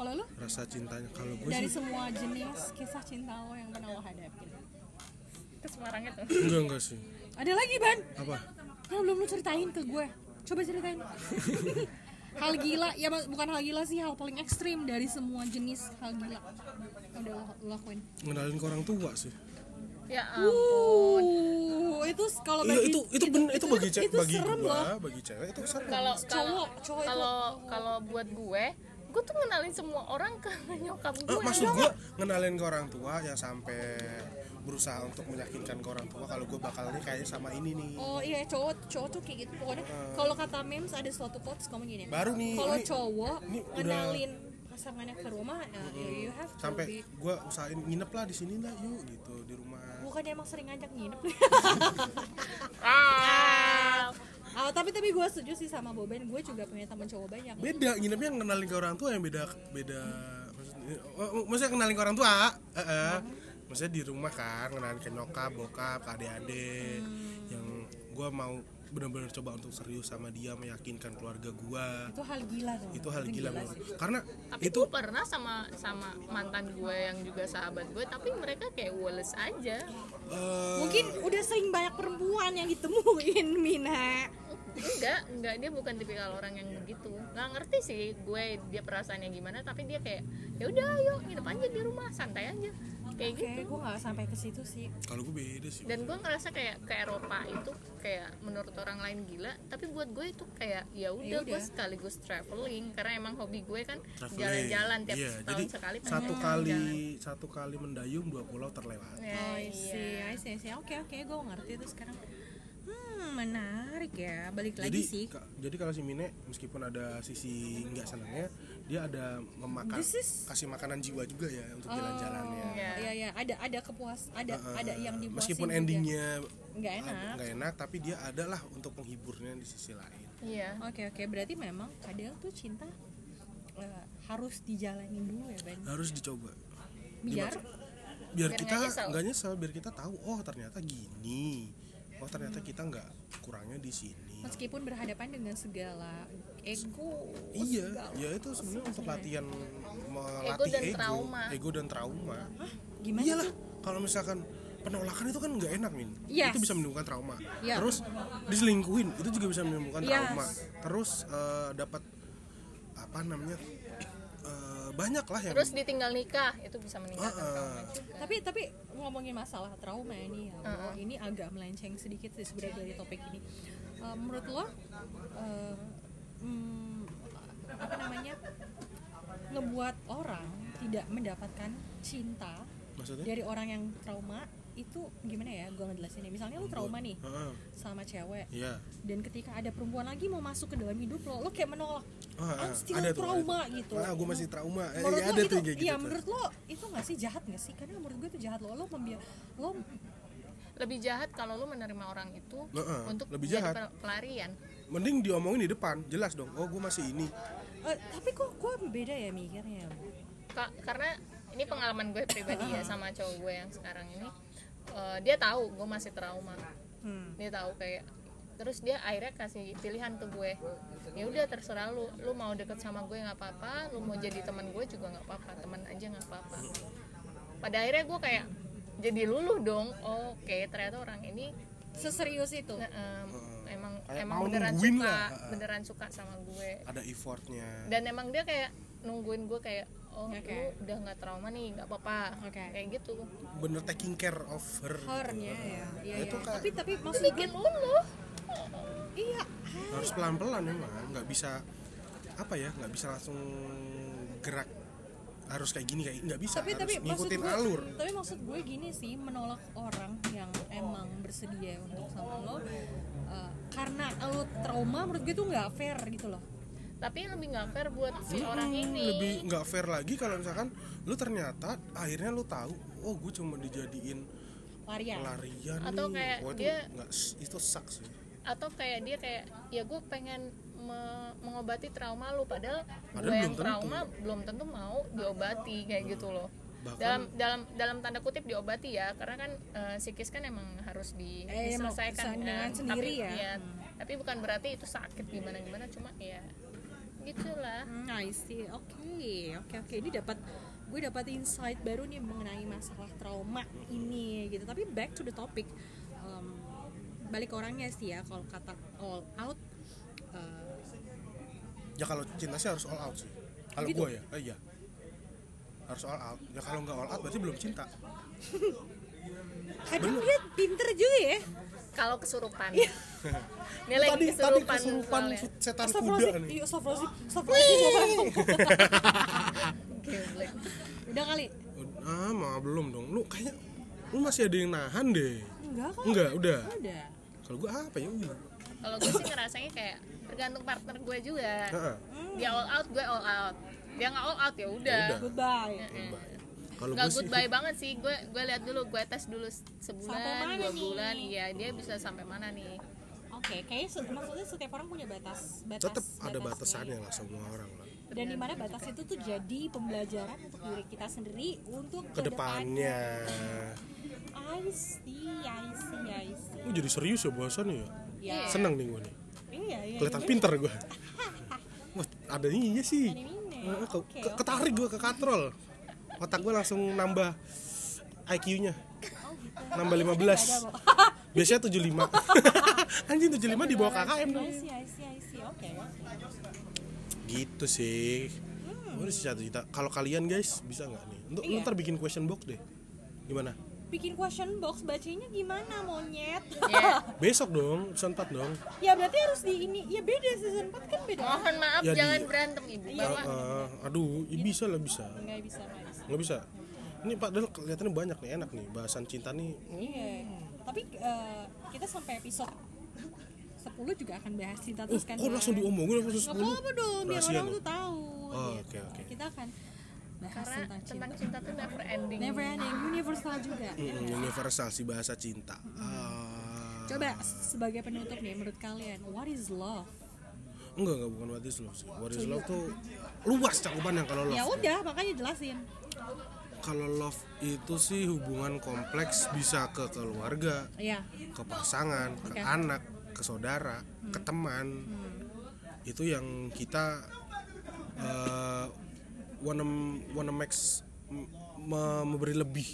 Speaker 2: kalau lo
Speaker 1: rasa cintanya. Kalau gue
Speaker 2: dari
Speaker 1: sih
Speaker 2: semua jenis kisah cinta lo yang pernah lo hadapin
Speaker 3: ke Semarangnya tuh
Speaker 1: enggak enggak sih.
Speaker 2: ada lagi ban
Speaker 1: Apa?
Speaker 2: yang belum lo ceritain ke gue coba ceritain hal gila ya mak- bukan hal gila sih hal paling ekstrim dari semua jenis hal gila yang udah lo- lo lakuin
Speaker 1: Ngenalin ke orang tua sih.
Speaker 3: ya ampun
Speaker 2: Uh, itu s- kalau
Speaker 1: Iya,
Speaker 2: bagi
Speaker 1: itu itu ben- itu, bagi cewek
Speaker 2: itu
Speaker 1: bagi
Speaker 2: serem
Speaker 1: gua,
Speaker 2: loh.
Speaker 1: bagi cewek itu serem.
Speaker 3: kalau kalau
Speaker 2: Cowok, cowok itu-
Speaker 3: kalau kalau buat gue gue tuh ngenalin semua orang ke nyokap
Speaker 1: Eh,
Speaker 3: gue
Speaker 1: maksud gue ngenalin ke orang tua yang sampai berusaha untuk meyakinkan ke orang tua kalau gue bakal nih kayak sama ini nih.
Speaker 2: Oh iya cowok cowok tuh kayak gitu pokoknya kalau kata memes ada suatu quotes ngomong gini.
Speaker 1: Hmm. Baru nih,
Speaker 2: Kalau
Speaker 1: ini-
Speaker 2: cowok
Speaker 1: ini udah- Hmm.
Speaker 2: ngenalin pasangannya ke rumah ya, you, you have to be
Speaker 1: Sampai gue usahain nginep lah di sini lah yuk gitu di rumah.
Speaker 2: bukan dia emang sering ngajak nginep.
Speaker 3: ah
Speaker 2: Ah, tapi tapi gue setuju sih sama Boben, gue juga punya teman cowok banyak.
Speaker 1: beda nginepnya ngenalin ke orang tua yang beda beda maksudnya, oh, maksudnya kenalin ke orang tua eh, eh. maksudnya di rumah kan kenalin ke nyokap bokap ke adik-adik yang gua mau benar-benar coba untuk serius sama dia meyakinkan keluarga gua
Speaker 2: Itu hal gila tuh.
Speaker 1: itu hal gila
Speaker 2: banget.
Speaker 1: banget karena
Speaker 3: tapi
Speaker 1: itu
Speaker 3: gue pernah sama sama mantan gue yang juga sahabat gue tapi mereka kayak woles aja
Speaker 1: eh,
Speaker 2: Mungkin udah sering banyak perempuan yang ditemuin Mina.
Speaker 3: enggak enggak dia bukan tipikal orang yang begitu nggak ngerti sih gue dia perasaannya gimana tapi dia kayak ya udah ayo nginep aja di rumah santai aja kayak
Speaker 2: Oke,
Speaker 3: gitu
Speaker 2: gue nggak sampai ke situ sih.
Speaker 1: kalau gue beda sih
Speaker 3: dan gue ngerasa kayak ke Eropa itu kayak menurut orang lain gila tapi buat gue itu kayak ya udah gue
Speaker 2: udah.
Speaker 3: sekaligus traveling karena emang hobi gue kan
Speaker 1: Traveling.
Speaker 3: jalan-jalan tiap
Speaker 1: Iya,
Speaker 3: tahun
Speaker 1: jadi
Speaker 3: sekali pengen
Speaker 1: satu kali
Speaker 3: jalan-jalan.
Speaker 1: satu kali mendayung dua pulau terlewat
Speaker 3: Ya,
Speaker 2: Oh, I
Speaker 3: iya.
Speaker 2: see, I see, I see. Oke, oke, gue ngerti tuh sekarang. Hmm, menarik ya balik
Speaker 1: jadi
Speaker 2: lagi sih
Speaker 1: ka- jadi kalau si Mine meskipun ada sisi nggak senangnya dia ada memakan
Speaker 2: This is-
Speaker 1: kasih makanan jiwa juga ya untuk jalan-jalannya
Speaker 3: iya.
Speaker 2: ya ya ada ada kepuas ada
Speaker 1: Uh,
Speaker 2: ada yang dipuasin
Speaker 1: meskipun
Speaker 2: juga.
Speaker 1: endingnya
Speaker 2: Nggak
Speaker 1: ah,
Speaker 2: enak.
Speaker 1: nggak enak tapi dia adalah untuk penghiburnya di sisi lain
Speaker 3: Iya.
Speaker 2: oke oke berarti memang kadang tuh cinta eh, harus dijalanin dulu ya Ben
Speaker 1: harus dicoba
Speaker 2: biar
Speaker 1: biar
Speaker 3: Biar
Speaker 1: kita
Speaker 3: nggak nyesel.
Speaker 1: nggak nyesel biar kita tahu oh ternyata gini oh ternyata kita nggak kurangnya di sini
Speaker 2: meskipun berhadapan dengan segala ego
Speaker 1: iya
Speaker 2: segala-
Speaker 1: ya itu sebenarnya untuk latihan melatih
Speaker 3: dan trauma.
Speaker 1: ego dan trauma
Speaker 2: Hah? gimana
Speaker 1: iyalah
Speaker 2: tuh?
Speaker 1: kalau misalkan penolakan itu kan nggak enak min
Speaker 2: Yes.
Speaker 1: itu bisa menimbulkan trauma
Speaker 2: Ya.
Speaker 1: terus diselingkuhin itu juga bisa menimbulkan
Speaker 2: Yes.
Speaker 1: trauma terus eh, dapat apa namanya eh, banyak lah yang
Speaker 3: Terus ditinggal nikah itu bisa
Speaker 1: Ah,
Speaker 3: meningkatkan
Speaker 1: ah.
Speaker 3: trauma juga.
Speaker 2: tapi tapi ngomongin masalah trauma ini ya Allah, ini agak melenceng sedikit sih sebenarnya dari topik ini Eh, menurut lo eh, hmm, apa namanya ngebuat orang tidak mendapatkan cinta
Speaker 1: maksudnya
Speaker 2: dari orang yang trauma itu gimana ya gue ngejelasinnya misalnya lo trauma nih
Speaker 1: Heeh,
Speaker 2: sama cewek
Speaker 1: iya.
Speaker 2: dan ketika ada perempuan lagi mau masuk ke dalam hidup lo lo kayak menolak
Speaker 1: Ah, ah,
Speaker 2: I'm still
Speaker 1: ada tuh,
Speaker 2: trauma
Speaker 1: ada tuh.
Speaker 2: gitu
Speaker 1: ah gue masih trauma Eh,
Speaker 2: menurut
Speaker 1: iya,
Speaker 2: lo
Speaker 1: ada
Speaker 2: itu
Speaker 1: tuh yang kayak gitu
Speaker 2: ya
Speaker 1: tuh.
Speaker 2: menurut lo itu nggak sih jahat nggak sih karena menurut gue itu jahat lo lo membiar lo
Speaker 3: Lebih jahat kalau lu menerima orang itu
Speaker 1: Heeh,
Speaker 3: untuk
Speaker 1: lebih
Speaker 3: jadi
Speaker 1: jahat.
Speaker 3: pel- pelarian.
Speaker 1: mending diomongin di depan jelas dong oh gue masih ini
Speaker 2: eh, tapi kok gue beda ya mikirnya
Speaker 3: Ka- karena ini pengalaman gue pribadi ya sama cowok gue yang sekarang ini Eh, dia tahu gue masih trauma
Speaker 2: hmm.
Speaker 3: dia tahu kayak terus dia akhirnya kasih pilihan ke gue ya udah terserah lu lu mau deket sama gue nggak apa-apa lu mau jadi teman gue juga nggak apa-apa teman aja nggak apa-apa pada akhirnya gue kayak jadi luluh dong Oh, oke ternyata orang ini
Speaker 2: seserius itu
Speaker 3: nah, em, emang
Speaker 1: Hmm. Kayak
Speaker 3: emang
Speaker 1: mau
Speaker 3: beneran
Speaker 1: nungguin
Speaker 3: suka
Speaker 1: lah.
Speaker 3: beneran suka sama gue
Speaker 1: ada effortnya
Speaker 3: dan emang dia kayak nungguin gue kayak oh
Speaker 2: Oke.
Speaker 3: lu udah nggak trauma nih nggak apa-apa
Speaker 2: Oke.
Speaker 3: kayak gitu
Speaker 1: bener taking care of her
Speaker 2: hornya ya, ya,
Speaker 1: Nah, itu
Speaker 2: ya.
Speaker 1: kayak-
Speaker 2: tapi tapi maksud gue
Speaker 3: bikin luluh
Speaker 2: iya
Speaker 1: harus pelan pelan emang nggak bisa apa ya nggak bisa langsung gerak harus kayak gini kayak nggak bisa
Speaker 2: tapi
Speaker 1: harus
Speaker 2: tapi maksud
Speaker 1: ngikutin
Speaker 2: gue
Speaker 1: alur
Speaker 2: tapi maksud gue gini sih menolak orang yang emang bersedia untuk sama lo eh, karena lo trauma menurut gue tuh nggak fair gitu loh
Speaker 3: tapi lebih nggak fair buat si orang ini
Speaker 1: Hmm, lebih nggak fair lagi kalau misalkan lu ternyata akhirnya lu tahu oh gue cuma dijadiin
Speaker 2: larian
Speaker 1: pelarian
Speaker 3: Ya. Atau
Speaker 1: nih.
Speaker 3: kayak
Speaker 1: Wah, itu
Speaker 3: dia-
Speaker 1: nggak itu sucks sih
Speaker 3: atau kayak dia kayak ya gue pengen me- mengobati trauma lu padahal,
Speaker 1: Padahal
Speaker 3: gue
Speaker 1: belum
Speaker 3: yang
Speaker 1: tentu.
Speaker 3: trauma belum tentu mau diobati kayak gitu loh
Speaker 1: Bahkan-
Speaker 3: dalam dalam dalam tanda kutip diobati ya karena kan eh, psikis kan emang harus di,
Speaker 2: Eh, emang
Speaker 3: diselesaikan
Speaker 2: dengan
Speaker 3: kan.
Speaker 2: sendiri
Speaker 3: tapi,
Speaker 2: ya.
Speaker 3: tapi bukan berarti itu sakit gimana gimana cuma ya gitulah
Speaker 2: Hmm, I see. Oke, oke, oke. Ini dapat gue dapat insight baru nih mengenai masalah trauma ini gitu. Tapi back to the topic, Em, balik ke orangnya sih ya. Kalau kata all out, eh,
Speaker 1: ya kalau cinta sih harus all out sih kalau
Speaker 2: Gitu?
Speaker 1: gue ya eh, iya harus all out ya kalau nggak all out berarti belum cinta
Speaker 2: kadang dia pinter juga ya.
Speaker 3: kalau kesurupan
Speaker 2: Iya.
Speaker 3: nilai
Speaker 1: tadi tadi
Speaker 3: kesurupan,
Speaker 1: kesurupan
Speaker 3: soalnya.
Speaker 1: setan kuda
Speaker 2: Astagfirullahaladzim,
Speaker 1: nih
Speaker 2: iya astagfirullahaladzim, astagfirullahaladzim, astagfirullahaladzim.
Speaker 3: Geblek.
Speaker 2: Udah kali?
Speaker 1: ah mah belum dong lu kayaknya lu masih ada yang nahan deh
Speaker 2: Enggak kok.
Speaker 1: enggak udah
Speaker 2: Udah.
Speaker 1: kalau gue apa ya udah
Speaker 3: kalau gue sih ngerasanya kayak tergantung partner gue juga
Speaker 1: Heeh.
Speaker 3: dia all out gue all out dia nggak all out ya udah
Speaker 1: Ya udah.
Speaker 2: Goodbye.
Speaker 1: Goodbye. kalau
Speaker 3: nggak
Speaker 1: gue sih
Speaker 3: goodbye banget sih gue gue lihat dulu gue tes dulu se-
Speaker 2: Sampai
Speaker 3: sebulan
Speaker 2: mana
Speaker 3: dua
Speaker 2: nih?
Speaker 3: bulan iya dia bisa sampai mana nih
Speaker 2: Oke, kayaknya se- maksudnya setiap orang punya batas, batas Iya,
Speaker 1: tetap ada
Speaker 2: batasnya.
Speaker 1: batasannya lah semua orang lah
Speaker 2: dan di mana batas itu tuh jadi pembelajaran untuk diri kita sendiri untuk
Speaker 1: kedepannya
Speaker 2: I see, I see, I see.
Speaker 1: lu jadi serius ya bosan ya
Speaker 2: Ya,
Speaker 1: seneng nih gue nih
Speaker 2: iya, iya.
Speaker 1: kelihatan
Speaker 2: iya.
Speaker 1: pinter gue Wah, ada iya sih
Speaker 2: Ada ininya.
Speaker 1: Heeh, ke-
Speaker 2: Oke,
Speaker 1: ke-
Speaker 2: oke.
Speaker 1: ketarik gue ke katrol otak gue langsung nambah IQ-nya
Speaker 2: Oh, gitu.
Speaker 1: nambah
Speaker 2: Ada,
Speaker 1: 15
Speaker 2: Bo.
Speaker 1: biasanya 75 anjing 75 di bawah KKM dong
Speaker 2: I see, I see, I see. Oke.
Speaker 1: gitu sih udah sih satu juta kalau kalian guys bisa nggak nih untuk lu
Speaker 2: Hmm. Iya.
Speaker 1: ntar bikin question box deh gimana
Speaker 2: Bikin question box bacanya gimana monyet?
Speaker 3: ya
Speaker 1: besok dong episode 4 dong
Speaker 2: ya berarti harus di ini. Ya beda season 4 kan beda.
Speaker 3: mohon maaf
Speaker 1: Ya, di-
Speaker 3: jangan
Speaker 1: Iya,
Speaker 3: berantem ibu
Speaker 2: Iya,
Speaker 3: bawa
Speaker 1: Heeh, Eh, aduh i- bisa lah bisa
Speaker 2: Enggak bisa, Mas.
Speaker 1: nggak bisa ini padahal Hmm. kelihatannya banyak nih enak nih bahasan cinta nih
Speaker 2: Iya. Tapi eh, kita sampai episode 10 juga akan bahas cinta
Speaker 1: Oh,
Speaker 2: terus kan
Speaker 1: kok langsung
Speaker 2: Bang?
Speaker 1: diomongin langsung
Speaker 2: Nggak
Speaker 1: 10?
Speaker 2: apa-apa dong biar
Speaker 1: Rahasia
Speaker 2: orang
Speaker 1: nih.
Speaker 2: tuh tahu
Speaker 1: Oh,
Speaker 2: gitu.
Speaker 1: oke, oke.
Speaker 2: kita akan bahas
Speaker 3: karena
Speaker 2: tentang cinta
Speaker 3: tentang cinta tuh never ending
Speaker 2: never ending universal juga
Speaker 1: Mm, universal sih bahasa cinta. Ah.
Speaker 2: coba sebagai penutup nih menurut kalian what is love
Speaker 1: Enggak, enggak bukan what is love sih. What is love tuh luas cakupannya kalau love.
Speaker 2: ya
Speaker 1: tuh.
Speaker 2: udah makanya jelasin
Speaker 1: Kalau love itu sih hubungan kompleks bisa ke keluarga,
Speaker 2: ya
Speaker 1: ke pasangan,
Speaker 2: Oke. Hmm.
Speaker 1: ke anak, ke saudara, ke teman. Itu yang kita eh wanna wanna max m- me- memberi lebih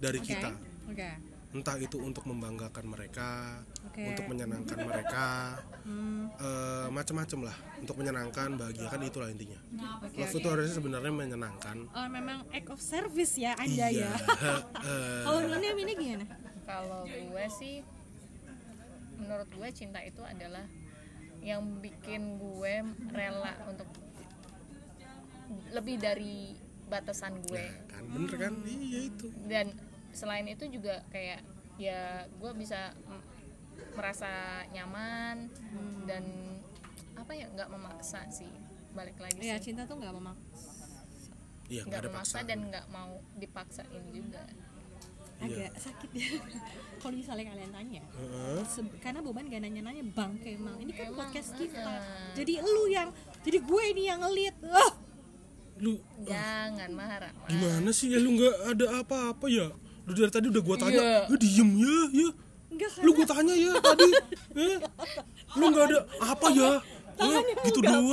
Speaker 1: dari
Speaker 2: oke
Speaker 1: kita.
Speaker 2: oke
Speaker 1: Entah itu untuk membanggakan mereka,
Speaker 2: Oke. Hmm,
Speaker 1: untuk menyenangkan mereka, eh, macam-macam lah. Untuk menyenangkan, bahagiakan itulah intinya.
Speaker 2: Oke,
Speaker 1: Love itu harusnya sebenarnya menyenangkan.
Speaker 2: Oh, memang act of service ya anda
Speaker 1: Iya.
Speaker 2: ya
Speaker 1: Eh,
Speaker 2: kalau Nurnia ini gimana
Speaker 3: kalau gue sih menurut gue cinta itu adalah yang bikin gue rela untuk lebih dari batasan gue
Speaker 1: kan bener kan?
Speaker 2: Hmm.
Speaker 1: Iya itu.
Speaker 3: dan selain itu juga kayak ya gue bisa m- merasa nyaman
Speaker 2: Hmm.
Speaker 3: dan apa ya nggak memaksa sih balik lagi
Speaker 2: ya
Speaker 3: sih
Speaker 2: cinta tuh nggak memaksa
Speaker 1: Iya, nggak
Speaker 3: nggak
Speaker 1: ada
Speaker 3: memaksa
Speaker 1: paksaan.
Speaker 3: dan nggak mau dipaksain juga
Speaker 1: Iya.
Speaker 2: agak sakit ya kalau misalnya kalian tanya
Speaker 1: Heeh.
Speaker 2: Se- karena Boban gak nanya-nanya Bang Kemal ini kan
Speaker 3: Emang,
Speaker 2: podcast kita
Speaker 3: uh-uh.
Speaker 2: jadi lu yang jadi gue ini yang ngelit Ah!
Speaker 1: Lu
Speaker 3: jangan marah Mas.
Speaker 1: gimana sih ya lu nggak ada apa-apa ya? Lu dari tadi udah gua tanya,
Speaker 3: Iya.
Speaker 1: lu diem ya, ya.
Speaker 2: enggak
Speaker 1: Lu gua tanya ya tadi, eh. Lu nggak ada apa ya? Eh, gitu doang.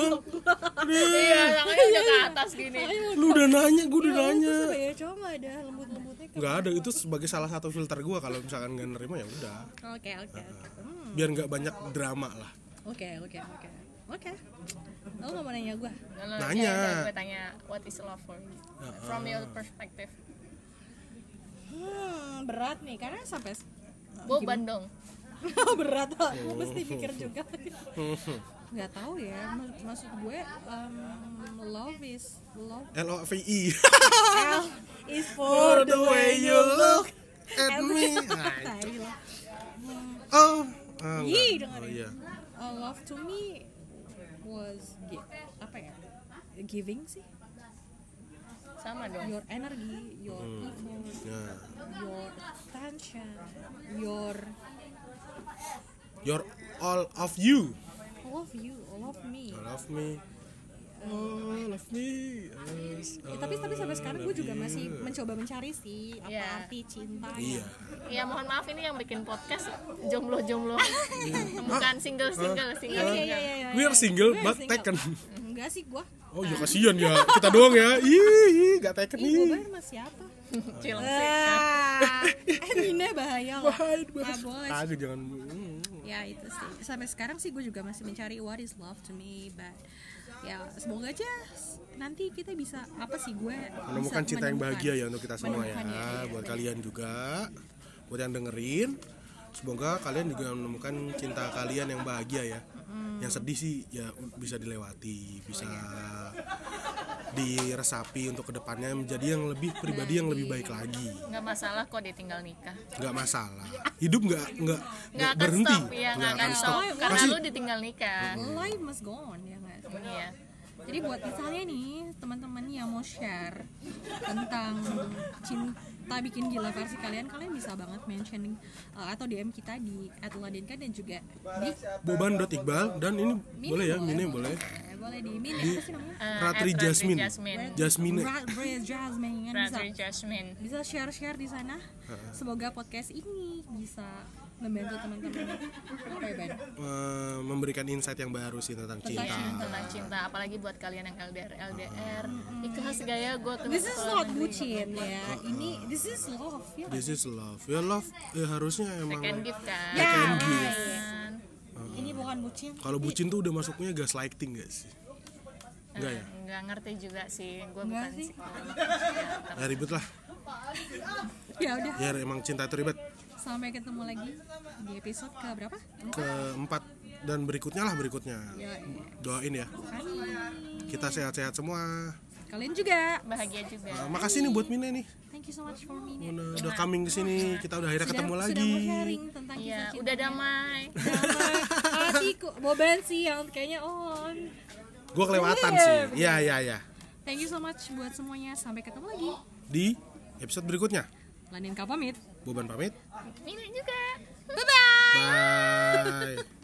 Speaker 1: Eh,
Speaker 3: iya tangannya udah ke atas gini
Speaker 1: lu udah nanya, gua udah nanya.
Speaker 2: itu ya cuma nggak ada lembut-lembutnya kan.
Speaker 1: Nggak ada itu sebagai salah satu filter gua kalau misalkan nggak nerima ya udah.
Speaker 2: oke oke oke. Hmm,
Speaker 1: Biar nggak banyak drama lah.
Speaker 2: oke oke oke oke lo nggak mau nanya gue
Speaker 3: Lalu
Speaker 1: Nanya.
Speaker 3: dia- dia- gue tanya what is love for you from your perspective
Speaker 2: hmm, berat nih karena sampai
Speaker 3: boban dong
Speaker 2: berat aku mesti pikir juga nggak tahu ya mak- maksud gue um, love is love
Speaker 1: L O V I.
Speaker 2: L is Ah. for the way you look Nah,
Speaker 1: at me. Nah,
Speaker 2: Tai lah.
Speaker 1: Oh. Ah, enggak.
Speaker 2: Ih, dengerin.
Speaker 1: Oh, iya.
Speaker 2: Uh, love to me was gi- apa ya giving sih
Speaker 3: sama dong
Speaker 2: your energy your effort
Speaker 1: Ya.
Speaker 2: your attention your
Speaker 1: You're all of you.
Speaker 2: all of you all of me
Speaker 1: All of me. All of me. Ah, Yes, Ah.
Speaker 2: Ya, tapi tapi sampai sekarang
Speaker 1: all
Speaker 2: gue
Speaker 1: of
Speaker 2: juga
Speaker 1: you.
Speaker 2: masih mencoba mencari sih apa
Speaker 3: Iya.
Speaker 2: arti cinta
Speaker 1: Iya.
Speaker 3: ya mohon maaf ini yang bikin podcast jomblo jomblo
Speaker 1: Iya.
Speaker 3: bukan single single single
Speaker 2: iya iya iya
Speaker 1: We are single but taken.
Speaker 2: enggak sih gue
Speaker 1: Oh ya kasihan ya kita doang ya. Ih, ih, gak taken
Speaker 2: ih gue
Speaker 1: nih.
Speaker 2: bayar sama siapa
Speaker 3: Chill.
Speaker 2: Iya, ah eh Nina bahaya loh
Speaker 1: Bahaya,
Speaker 2: Nggak boleh.
Speaker 1: bahaya. Aduh jangan. Hmm.
Speaker 2: ya itu sih sampai sekarang sih gue juga masih mencari what is love to me but ya semoga aja s- nanti kita bisa apa sih gue
Speaker 1: Menemukan cinta yang bahagia ya untuk kita semua ya.
Speaker 2: Menemukan, ya, iya,
Speaker 1: Buat kalian juga, buat yang dengerin, semoga kalian juga menemukan cinta kalian yang bahagia ya.
Speaker 2: Hmm.
Speaker 1: Yang sedih sih ya bisa dilewati, bisa
Speaker 2: Oh, iya.
Speaker 1: diresapi untuk kedepannya menjadi yang lebih pribadi yang
Speaker 2: Iya,
Speaker 1: lebih baik lagi.
Speaker 3: nggak masalah kok ditinggal nikah
Speaker 1: nggak masalah hidup nggak nggak
Speaker 3: nggak
Speaker 1: nggak
Speaker 3: akan
Speaker 1: berhenti
Speaker 3: stop ya nggak akan stop karena
Speaker 1: pasti
Speaker 3: lu ditinggal nikah
Speaker 2: life must go on ya nggak sih?
Speaker 3: iya
Speaker 2: jadi buat misalnya nih teman-teman yang mau share tentang cinta bikin gila versi kalian kalian bisa banget mention uh, atau DM kita di @ladinka dan juga di
Speaker 1: boban dot iqbal dan ini
Speaker 2: Mini
Speaker 1: boleh ya mini boleh
Speaker 2: Eh, boleh di Mini apa sih namanya
Speaker 3: Eh,
Speaker 1: Ratri
Speaker 3: at
Speaker 1: Jasmine.
Speaker 3: Jasmine
Speaker 1: Jasmine
Speaker 2: Ra- Ra- Jasmine kan bisa
Speaker 3: Ratri Jasmine
Speaker 2: bisa share-share di sana. Semoga podcast ini bisa membantu teman-teman. Apa ya, Ben?
Speaker 1: eh, memberikan insight yang baru sih tentang cinta
Speaker 3: tentang cinta apalagi buat kalian yang LDR LDR ikhlas gaya gue ke
Speaker 2: This is not bucin ya. Ini this is love ya.
Speaker 1: this is love ya love ya harusnya emang
Speaker 3: second gift kan
Speaker 2: Ya,
Speaker 1: Second
Speaker 2: guys.
Speaker 1: gift.
Speaker 2: Ini bukan bucin.
Speaker 1: kalau bucin tuh udah masuknya gaslighting gak sih Enggak ya?
Speaker 3: nggak ngerti juga sih gue
Speaker 2: Nggak
Speaker 3: bukan
Speaker 2: sih.
Speaker 3: psikolog.
Speaker 1: Ya ribet lah
Speaker 2: Ya udah,
Speaker 1: Ya emang cinta itu ribet
Speaker 2: sampai ketemu lagi di episode ke berapa?
Speaker 1: Keempat Dan berikutnya lah berikutnya
Speaker 2: Ya, ya.
Speaker 1: Doain ya
Speaker 2: Bye.
Speaker 1: Kita sehat-sehat semua
Speaker 2: kalian juga.
Speaker 3: bahagia juga
Speaker 1: Nah, makasih nih buat Mina nih.
Speaker 2: Thank you so much for me.
Speaker 1: Udah, udah coming ke sini, kita udah akhirnya ketemu
Speaker 2: Iya. sudah,
Speaker 1: lagi.
Speaker 2: Sudah mau sharing tentang kisah
Speaker 3: Iya,
Speaker 2: cinta. Ah,
Speaker 3: udah damai.
Speaker 2: Hatiku, Boban sih yang kayaknya on.
Speaker 1: Gue kelewatan sih. Iya, iya, iya.
Speaker 2: Thank you so much buat semuanya. Sampai ketemu lagi.
Speaker 1: Di episode berikutnya,
Speaker 2: Lanin Kapamit.
Speaker 1: Boban pamit.
Speaker 3: Mina juga.
Speaker 2: Bye bye.
Speaker 1: Bye.